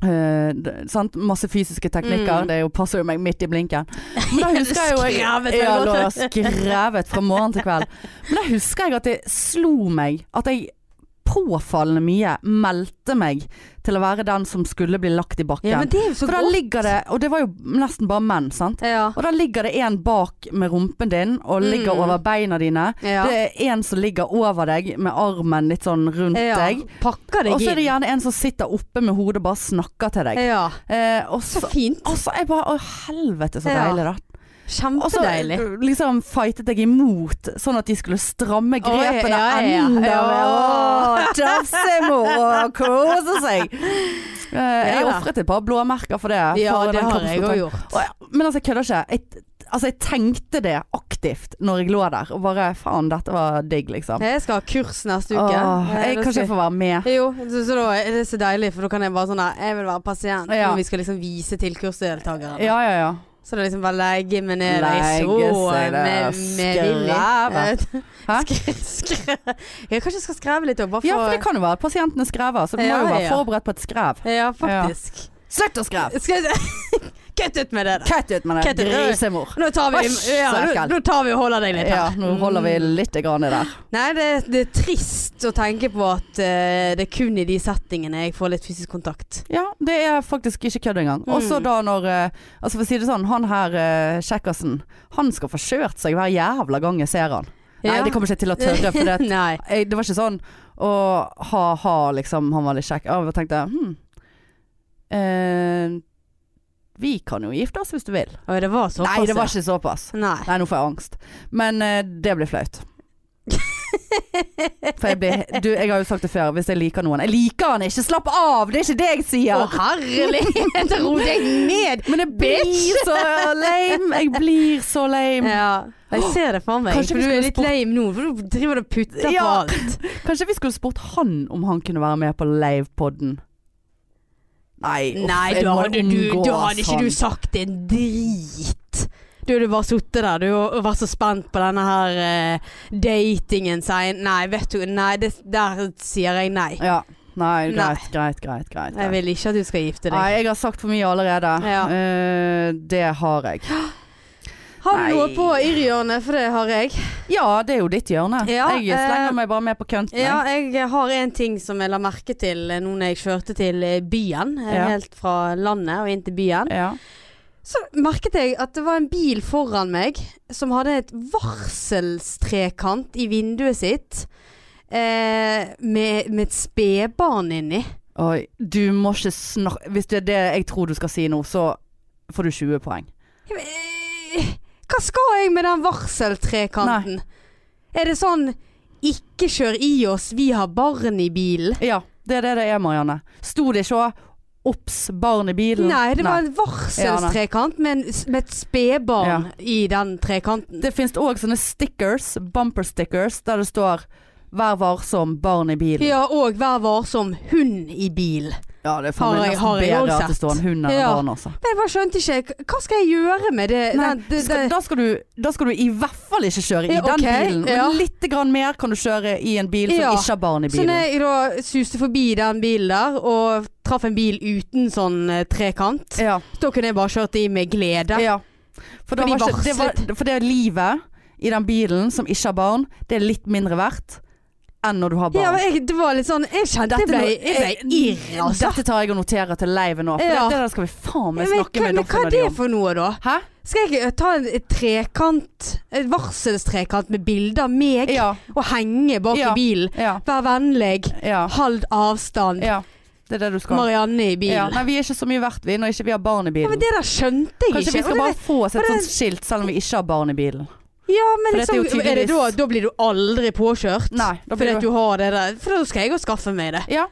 eh, d- sant? Masse fysiske teknikker. Mm. Det er jo, passer jo meg midt i blinken. Men da husker jeg jo jeg, Skrevet, ja, veldig lå godt. og skrevet fra morgen til kveld. Men da husker jeg at det slo meg at jeg påfallende mye meldte meg til å være den som skulle bli lagt i bakken. Ja, men det er jo så For da godt. ligger det, og det var jo nesten bare menn, sant? Ja. Og da ligger det en bak med rumpen din, og ligger Mm. over beina dine. ja. Det er en som ligger over deg med armen litt sånn rundt ja. deg. Pakker Og deg så er det inn. gjerne en som sitter oppe med hodet og bare snakker til deg. Ja. Eh, og Så så, fint. og så er jeg bare Å, helvete, så Ja. deilig, da. Og så Kjempedeilig. liksom fightet jeg imot, sånn at de skulle stramme Å, ja, grepene ja, ja. enda Ja. mer. Å, Tafsemo og kose seg. Eh, jeg da. ofret et par blåmerker for det. Ja, for det den har jeg kroppskontakten. òg gjort. Og jeg- Men altså, jeg kødder ikke. Jeg, altså, jeg tenkte det aktivt når jeg lå der, og bare faen, dette var digg, liksom. Jeg skal ha kurs neste uke. Åh, Eh, jeg da kan skal ikke få være med. Jo, så, så da er det så deilig, for da kan jeg bare sånn her, Jeg vil være pasient, Ja. og vi skal liksom vise til kursdeltakerne. Ja, ja, ja. Så det er liksom bare legge meg ned i Legge seg sofaen ned, med, med Willy. skreve. Hæ? Skre, skre. Jeg kanskje skal skreve litt òg, bare Ja, for for det kan jo være at pasienten er skrever, så du må jo Ja, være ja. forberedt på et skrev. Ja, faktisk. Slutt å skreve! Skal jeg Kutt ut med det, da. Kutt ut med Kutt det, ut. grisemor. Nå tar vi, Æsj, ja, nå, søkel. nå tar vi og holder deg litt her. Ja, nå holder vi Mm. litt grann i der. Nei, det, det er trist å tenke på at eh, det er kun i de settingene jeg får litt fysisk kontakt. Ja, det er faktisk ikke kødd engang. Og så Mm. da når eh, Altså for å si det sånn, han her eh, kjekkasen, han skal få kjørt seg hver jævla gang jeg ser han. Nei, Ja. det kommer jeg ikke til å tørre, for det, Nei. jeg, det var ikke sånn å ha-ha, liksom, han var litt kjekk. Og jeg tenkte hm eh, Vi kan jo gifte oss hvis du vil. Oi, det var såpass. Nei, det var ja. ikke såpass. Nei. Nei, nå får jeg angst. Men eh, det blir flaut. For jeg blir Du, jeg har jo sagt det før, hvis jeg liker noen Jeg liker han ikke! Slapp av! Det er ikke det jeg Å, sier! herlighet, ro deg ned! Men jeg blir så lame! Jeg blir så lame. Ja, jeg ser det for meg. Kanskje for vi du skulle er litt spurt- lame nå, for du driver og putter på Ja. alt. Kanskje vi skulle spurt han om han kunne være med på livepodden? Nei, uff, Nei, jeg da må hadde, du, omgås da hadde ikke han. du sagt en drit. Du hadde bare sittet der du, og vært så spent på denne her eh, datingen sein. Nei, vet du, nei, det, der sier jeg nei. Ja. Nei, Nei. greit, greit, greit. greit. Jeg vil ikke at du skal gifte Nei, deg. jeg har sagt for mye allerede. Ja. Eh, det har jeg. Har du noe Nei. på irrhjørnet? For det har jeg. Ja, det er jo ditt hjørne. Ja, jeg slenger eh, meg bare med på kønten. Ja, jeg. jeg har en ting som jeg la merke til eh, nå når jeg kjørte til eh, byen. eh, Ja. Helt fra landet og inn til byen. Ja. Så merket jeg at det var en bil foran meg som hadde et varselstrekant i vinduet sitt. Eh, med, med et spedbarn inni. Oi, du må ikke snakke Hvis det er det jeg tror du skal si nå, så får du 20 poeng. Ja, men, eh, Hva skal jeg med den varseltrekanten? Er det sånn 'ikke kjør i oss, vi har barn i bilen'? Ja, det er det det er, Marianne. Sto det ikke òg 'obs, barn i bilen'? Nei, det var en Ja, nei. varselstrekant med, en, med et spedbarn i den trekanten. Det finnes òg sånne stickers, bumper stickers, der det står Vær varsom, barn i bilen. Ja, og vær varsom, hund i bil. Ja, det er for Har meg jeg- nesten har jeg bedre også at det står en sett. hund enn Ja. en barn, altså. Men jeg bare skjønte ikke Hva skal jeg gjøre med det? Nei, den- det, Skal, det da, skal du, da skal du i hvert fall ikke kjøre i Ja, den ok, bilen. Men ja. litt grann mer kan du kjøre i en bil som Ja. Sånn ikke har barn i så bilen. når jeg da suste forbi den bilen der, og traff en bil uten sånn eh, trekant, ja. da kunne jeg bare kjørt i med glede. Ja. For, da var Fordi ikke, det var, varslet. for det livet i den bilen som ikke har barn, det er litt mindre verdt enn når du har barn. Eh, Ja, men jeg, det var litt sånn Jeg kjente jeg ble, jeg ble irr, altså. Dette tar jeg og noterer til leivet nå, for Ja. det, det der skal vi faen meg Men snakke hva, med men hva Doffen er og de det om. for noe, da? Hæ? Skal jeg eh, ta en et trekant, et varselstrekant med bilder av meg, Ja, og henge bak Ja. i bilen? ja, Vær vennlig. ja, Hold avstand. ja. Det er det du skal. Marianne i bilen. Ja. Ja. Nei, vi er ikke så mye verdt, vi, når ikke vi har barn i men bilen. det der skjønte jeg Kanskje ikke. vi skal Og det- bare få oss et og det- sånt skilt, selv om vi ikke har barn i bilen. Ja, men For dette er liksom, jo er det da, tydeligvis- da blir du aldri påkjørt? Nei, da fordi blir at du du har det der. For da skal jeg jo skaffe meg det. Ja.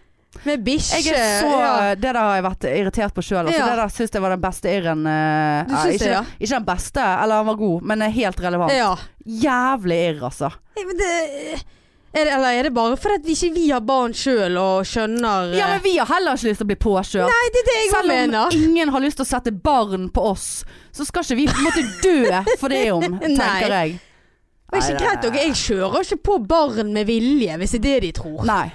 Med bikkje. Jeg er så, ja. Det der har jeg vært irritert på sjøl. Ja. Det der syns jeg var den beste irren. eh, Du syns ikke, det, ja? Eh. ikke den beste, eller han var god, men er helt relevant. ja. Jævlig irr, altså. Nei, Men det, er det, eller er det bare fordi at vi ikke vi har barn sjøl og skjønner Ja, men vi har heller ikke lyst til å bli påkjørt. Eh. Nei, det er det jeg Selv om mener. ingen har lyst til å sette barn på oss, så skal ikke vi på en måte dø for det om, tenker jeg. Det er Nei, ikke nei, greit, dere. Jeg kjører ikke på barn med vilje, hvis det er det de tror. Nei.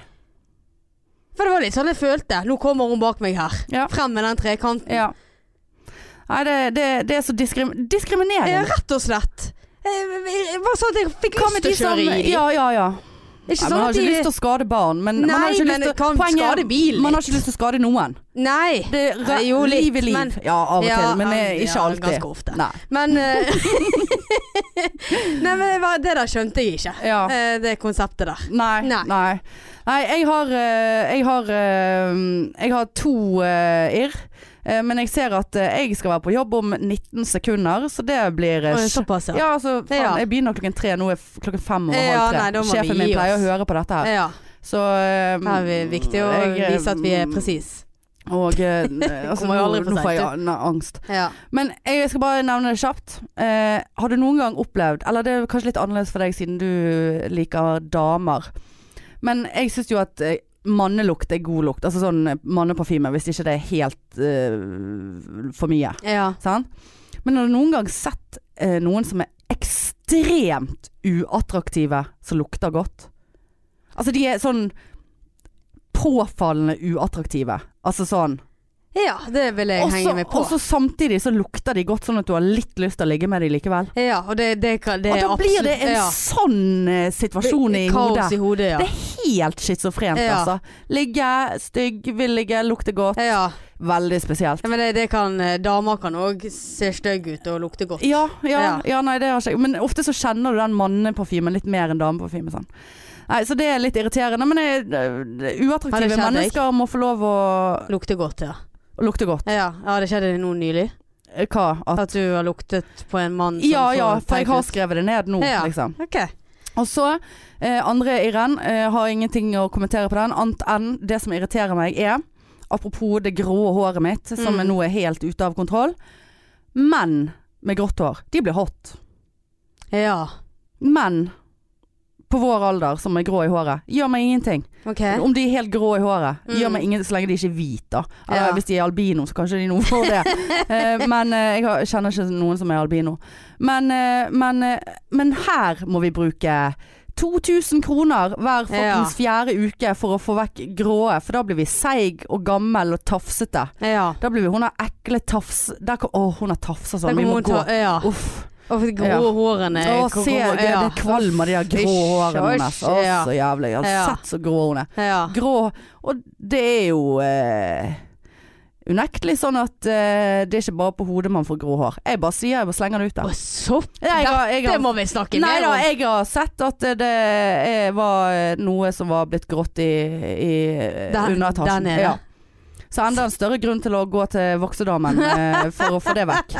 For det var litt sånn jeg følte. Nå kommer hun bak meg her. Ja. Frem med den trekanten. Ja. Nei, det, det, det er så diskrim Eh, diskriminering. Rett og slett. Eh, Bare sånn at jeg fikk Hva lyst med de til å som kjøre i. Ja, ja, ja. Ikke Nei, sånn man har at ikke de lyst til å skade barn, men man har Nei, ikke men lyst til kan skade bilen Man har ikke lyst til å skade noen. Nei. Det, Nei, er jo, litt, liv er liv. men- ja, av og Ja, til, men ja, eh, ikke ja, alltid. Ganske ofte. Nei. Men eh, Nei, men det, var, det der skjønte jeg ikke. Ja. Eh, det konseptet der. Nei. Nei. Nei. Nei, jeg har eh, Jeg har, eh, jeg har to eh, irr. Eh, Men jeg ser at eh, jeg skal være på jobb om 19 sekunder, så det blir eh, Å, sj- Såpass, ja. Ja, altså, faen, Ja. jeg begynner klokken tre. Nå er f- klokken fem og Ja, halv tre. nei, da må vi Sjefen min gi pleier å oss. høre på dette her. ja. Så eh, Her er vi viktig å jeg, eh, vise at vi er presis. Og eh, altså, Kommer nå, jo aldri for nå får jeg sent, an- angst. Ja. Men jeg skal bare nevne det kjapt. Eh, har du noen gang opplevd Eller det er kanskje litt annerledes for deg siden du liker damer. Men jeg syns jo at eh, mannelukt er god lukt. Altså sånn eh, manneparfyme, hvis ikke det er helt eh, for mye. ja. Sant? Men har du noen gang sett eh, noen som er ekstremt uattraktive, som lukter godt? Altså de er sånn påfallende uattraktive. Altså sånn ja, det vil jeg eh, henge meg på. og så samtidig så lukter de godt, sånn at du har litt lyst til å ligge med dem likevel. ja, og det, det, kan- det og er da absolutt blir det en ja. sånn eh, situasjon i hodet. Kaos i hodet, ja. Det er helt schizofrent, Ja. altså. Ligge, stygg, vil ligge, lukter godt. ja. Veldig spesielt. ja men det, det kan eh, Damer kan òg se stygge ut og lukte godt. Ja, ja, ja. Ja. nei, det har ikke jeg. Men ofte så kjenner du den manneparfymen litt mer enn dameparfyme. Sånn. Nei, så det er litt irriterende. Men det, det, Har det uattraktive skjedd deg? mennesker må få lov å Lukte godt, ja. lukte godt. Ja, ja det skjedde nå nylig. Hva? At, At du har luktet på en mann som ja så ja, for teit jeg har ut. skrevet det ned nå, Ja. liksom. Ok. Og så, eh, andre Irén, eh, har ingenting å kommentere på den, annet enn det som irriterer meg er, apropos det grå håret mitt, som Mm. nå er helt ute av kontroll, menn med grått hår, de blir hot. Ja. Menn på vår alder som er grå i håret, gjør meg ingenting. Ok. Om de er helt grå i håret, Eh? Mm. gjør meg ingen, så lenge de ikke er hvite. da. Eller Ja. hvis de er albino, så kanskje de noe får det. Eh, men eh, jeg har- kjenner ikke noen som er albino. Men, eh, men, eh, men her må vi bruke 2000 kroner hver fuckings fjerde uke for å få vekk gråe, for da blir vi seig og gammel og tafsete. Ja. Da blir vi hun har ekle tafs... Der, kom- å, hun har tafsa Der sånn. Vi kommer må hun ta- gå. Ja. Uff. Og de grå Ja. hårene Å, hvor- se, eh, hvor- det, ja. det kvalmer de der grå Uff, hårene hennes. uff, Å, ja. så jævlig. Jeg Ja. har sett så grå hun er ja. grå. Og det er jo eh, unektelig sånn at eh, det er ikke bare på hodet man får grå hår. Jeg bare sier jeg bare slenger det ut Å, der. sopp! Jeg har- jeg har- Dette må vi snakke Nei mer da, om. jeg har sett at det er, var eh, noe som var blitt grått i, i eh, Der- der underetasjen. nede. Så enda en større grunn til å gå til voksedamen eh, for å få det vekk.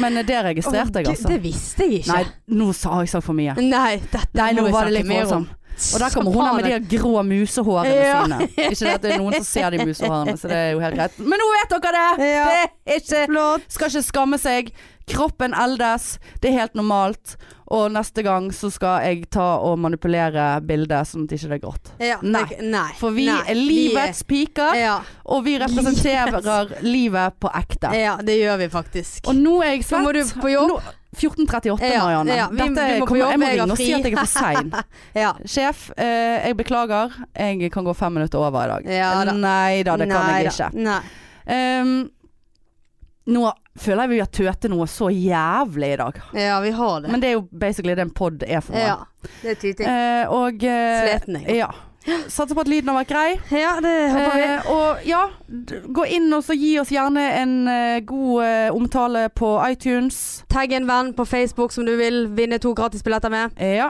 Men eh, det Å, registrerte jeg, Gud, altså. Det visste jeg ikke. Nei, nå sa jeg sagt for mye. Nei, dette Nei, nå må vi var snakke det litt mer om. voldsomt. Og der kommer hun her med de her grå musehårene Ja. sine. Ikke det at det er noen som ser de musehårene, så det er jo helt greit. Men nå vet dere det! Ja. Det er ikke Skal ikke skamme seg. Kroppen eldes, det er helt normalt. Og neste gang så skal jeg ta og manipulere bildet sånn at ikke det er grått. Ja, Nei. jeg- nei. For vi nei, er livets piker, ja, og vi representerer livet på ekte. ja, det gjør vi faktisk. Og nå er jeg Nå svett. må du på jobb. Nå- 14.38, Ja, Marianne. ja, vi- Dette vi må på kommer, jeg jobb, må jeg har ringe og si fri. at jeg er for sein. Ja. Sjef, eh, jeg beklager. Jeg kan gå fem minutter over i dag. Ja da. Nei da, det kan Nei jeg da. ikke. Nei. Ehm, nå føler jeg vi har tøtet noe så jævlig i dag. Ja, vi har det. Men det er jo basically det en pod er for meg. ja. Det er tyting. Eh, og eh, Sliten jeg. ja. Satser på at lyden har vært grei. Ja, det håper vi. Eh, og ja, d- gå inn og så gi oss gjerne en eh, god eh, omtale på iTunes. Tagg en venn på Facebook som du vil vinne to gratisbilletter med. Eh, ja.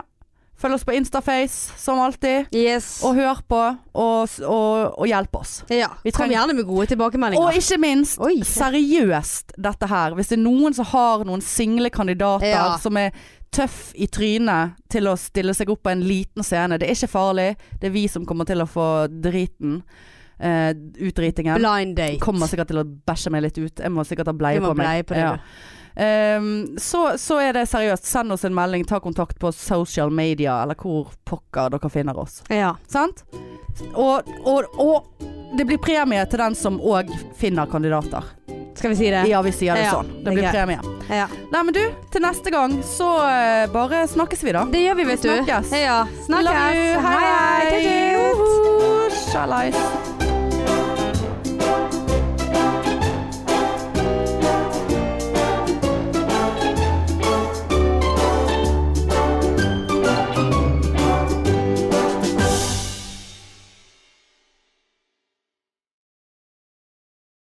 Følg oss på Instaface, som alltid. Yes. Og hør på, og, s- og, og hjelp oss. ja. vi Kom trenger- gjerne med gode tilbakemeldinger. Og ikke minst, Oi. seriøst dette her. Hvis det er noen som har noen single kandidater Ja. som er tøff i trynet til å stille seg opp på en liten scene. Det er ikke farlig. Det er vi som kommer til å få driten. eh, utdritingen. Blind date. Kommer sikkert til å bæsje meg litt ut. Jeg må sikkert ha Du bleie må på meg. bleie på det, Ja. Ehm, så, så er det seriøst. Send oss en melding. Ta kontakt på social media, eller hvor pokker dere finner oss. Ja. Sant? Og, og, og det blir premie til den som òg finner kandidater. Skal vi si det? Ja, vi sier det Ja, sånn. det Det er blir greit. premie. Ja. Nei, men du, til neste gang så eh, bare snakkes vi, da. Det gjør vi, vet du. Snakkes. Ja. Snakkes. Love you. Hei, hei. Tut, tut. Joho, Sjalais.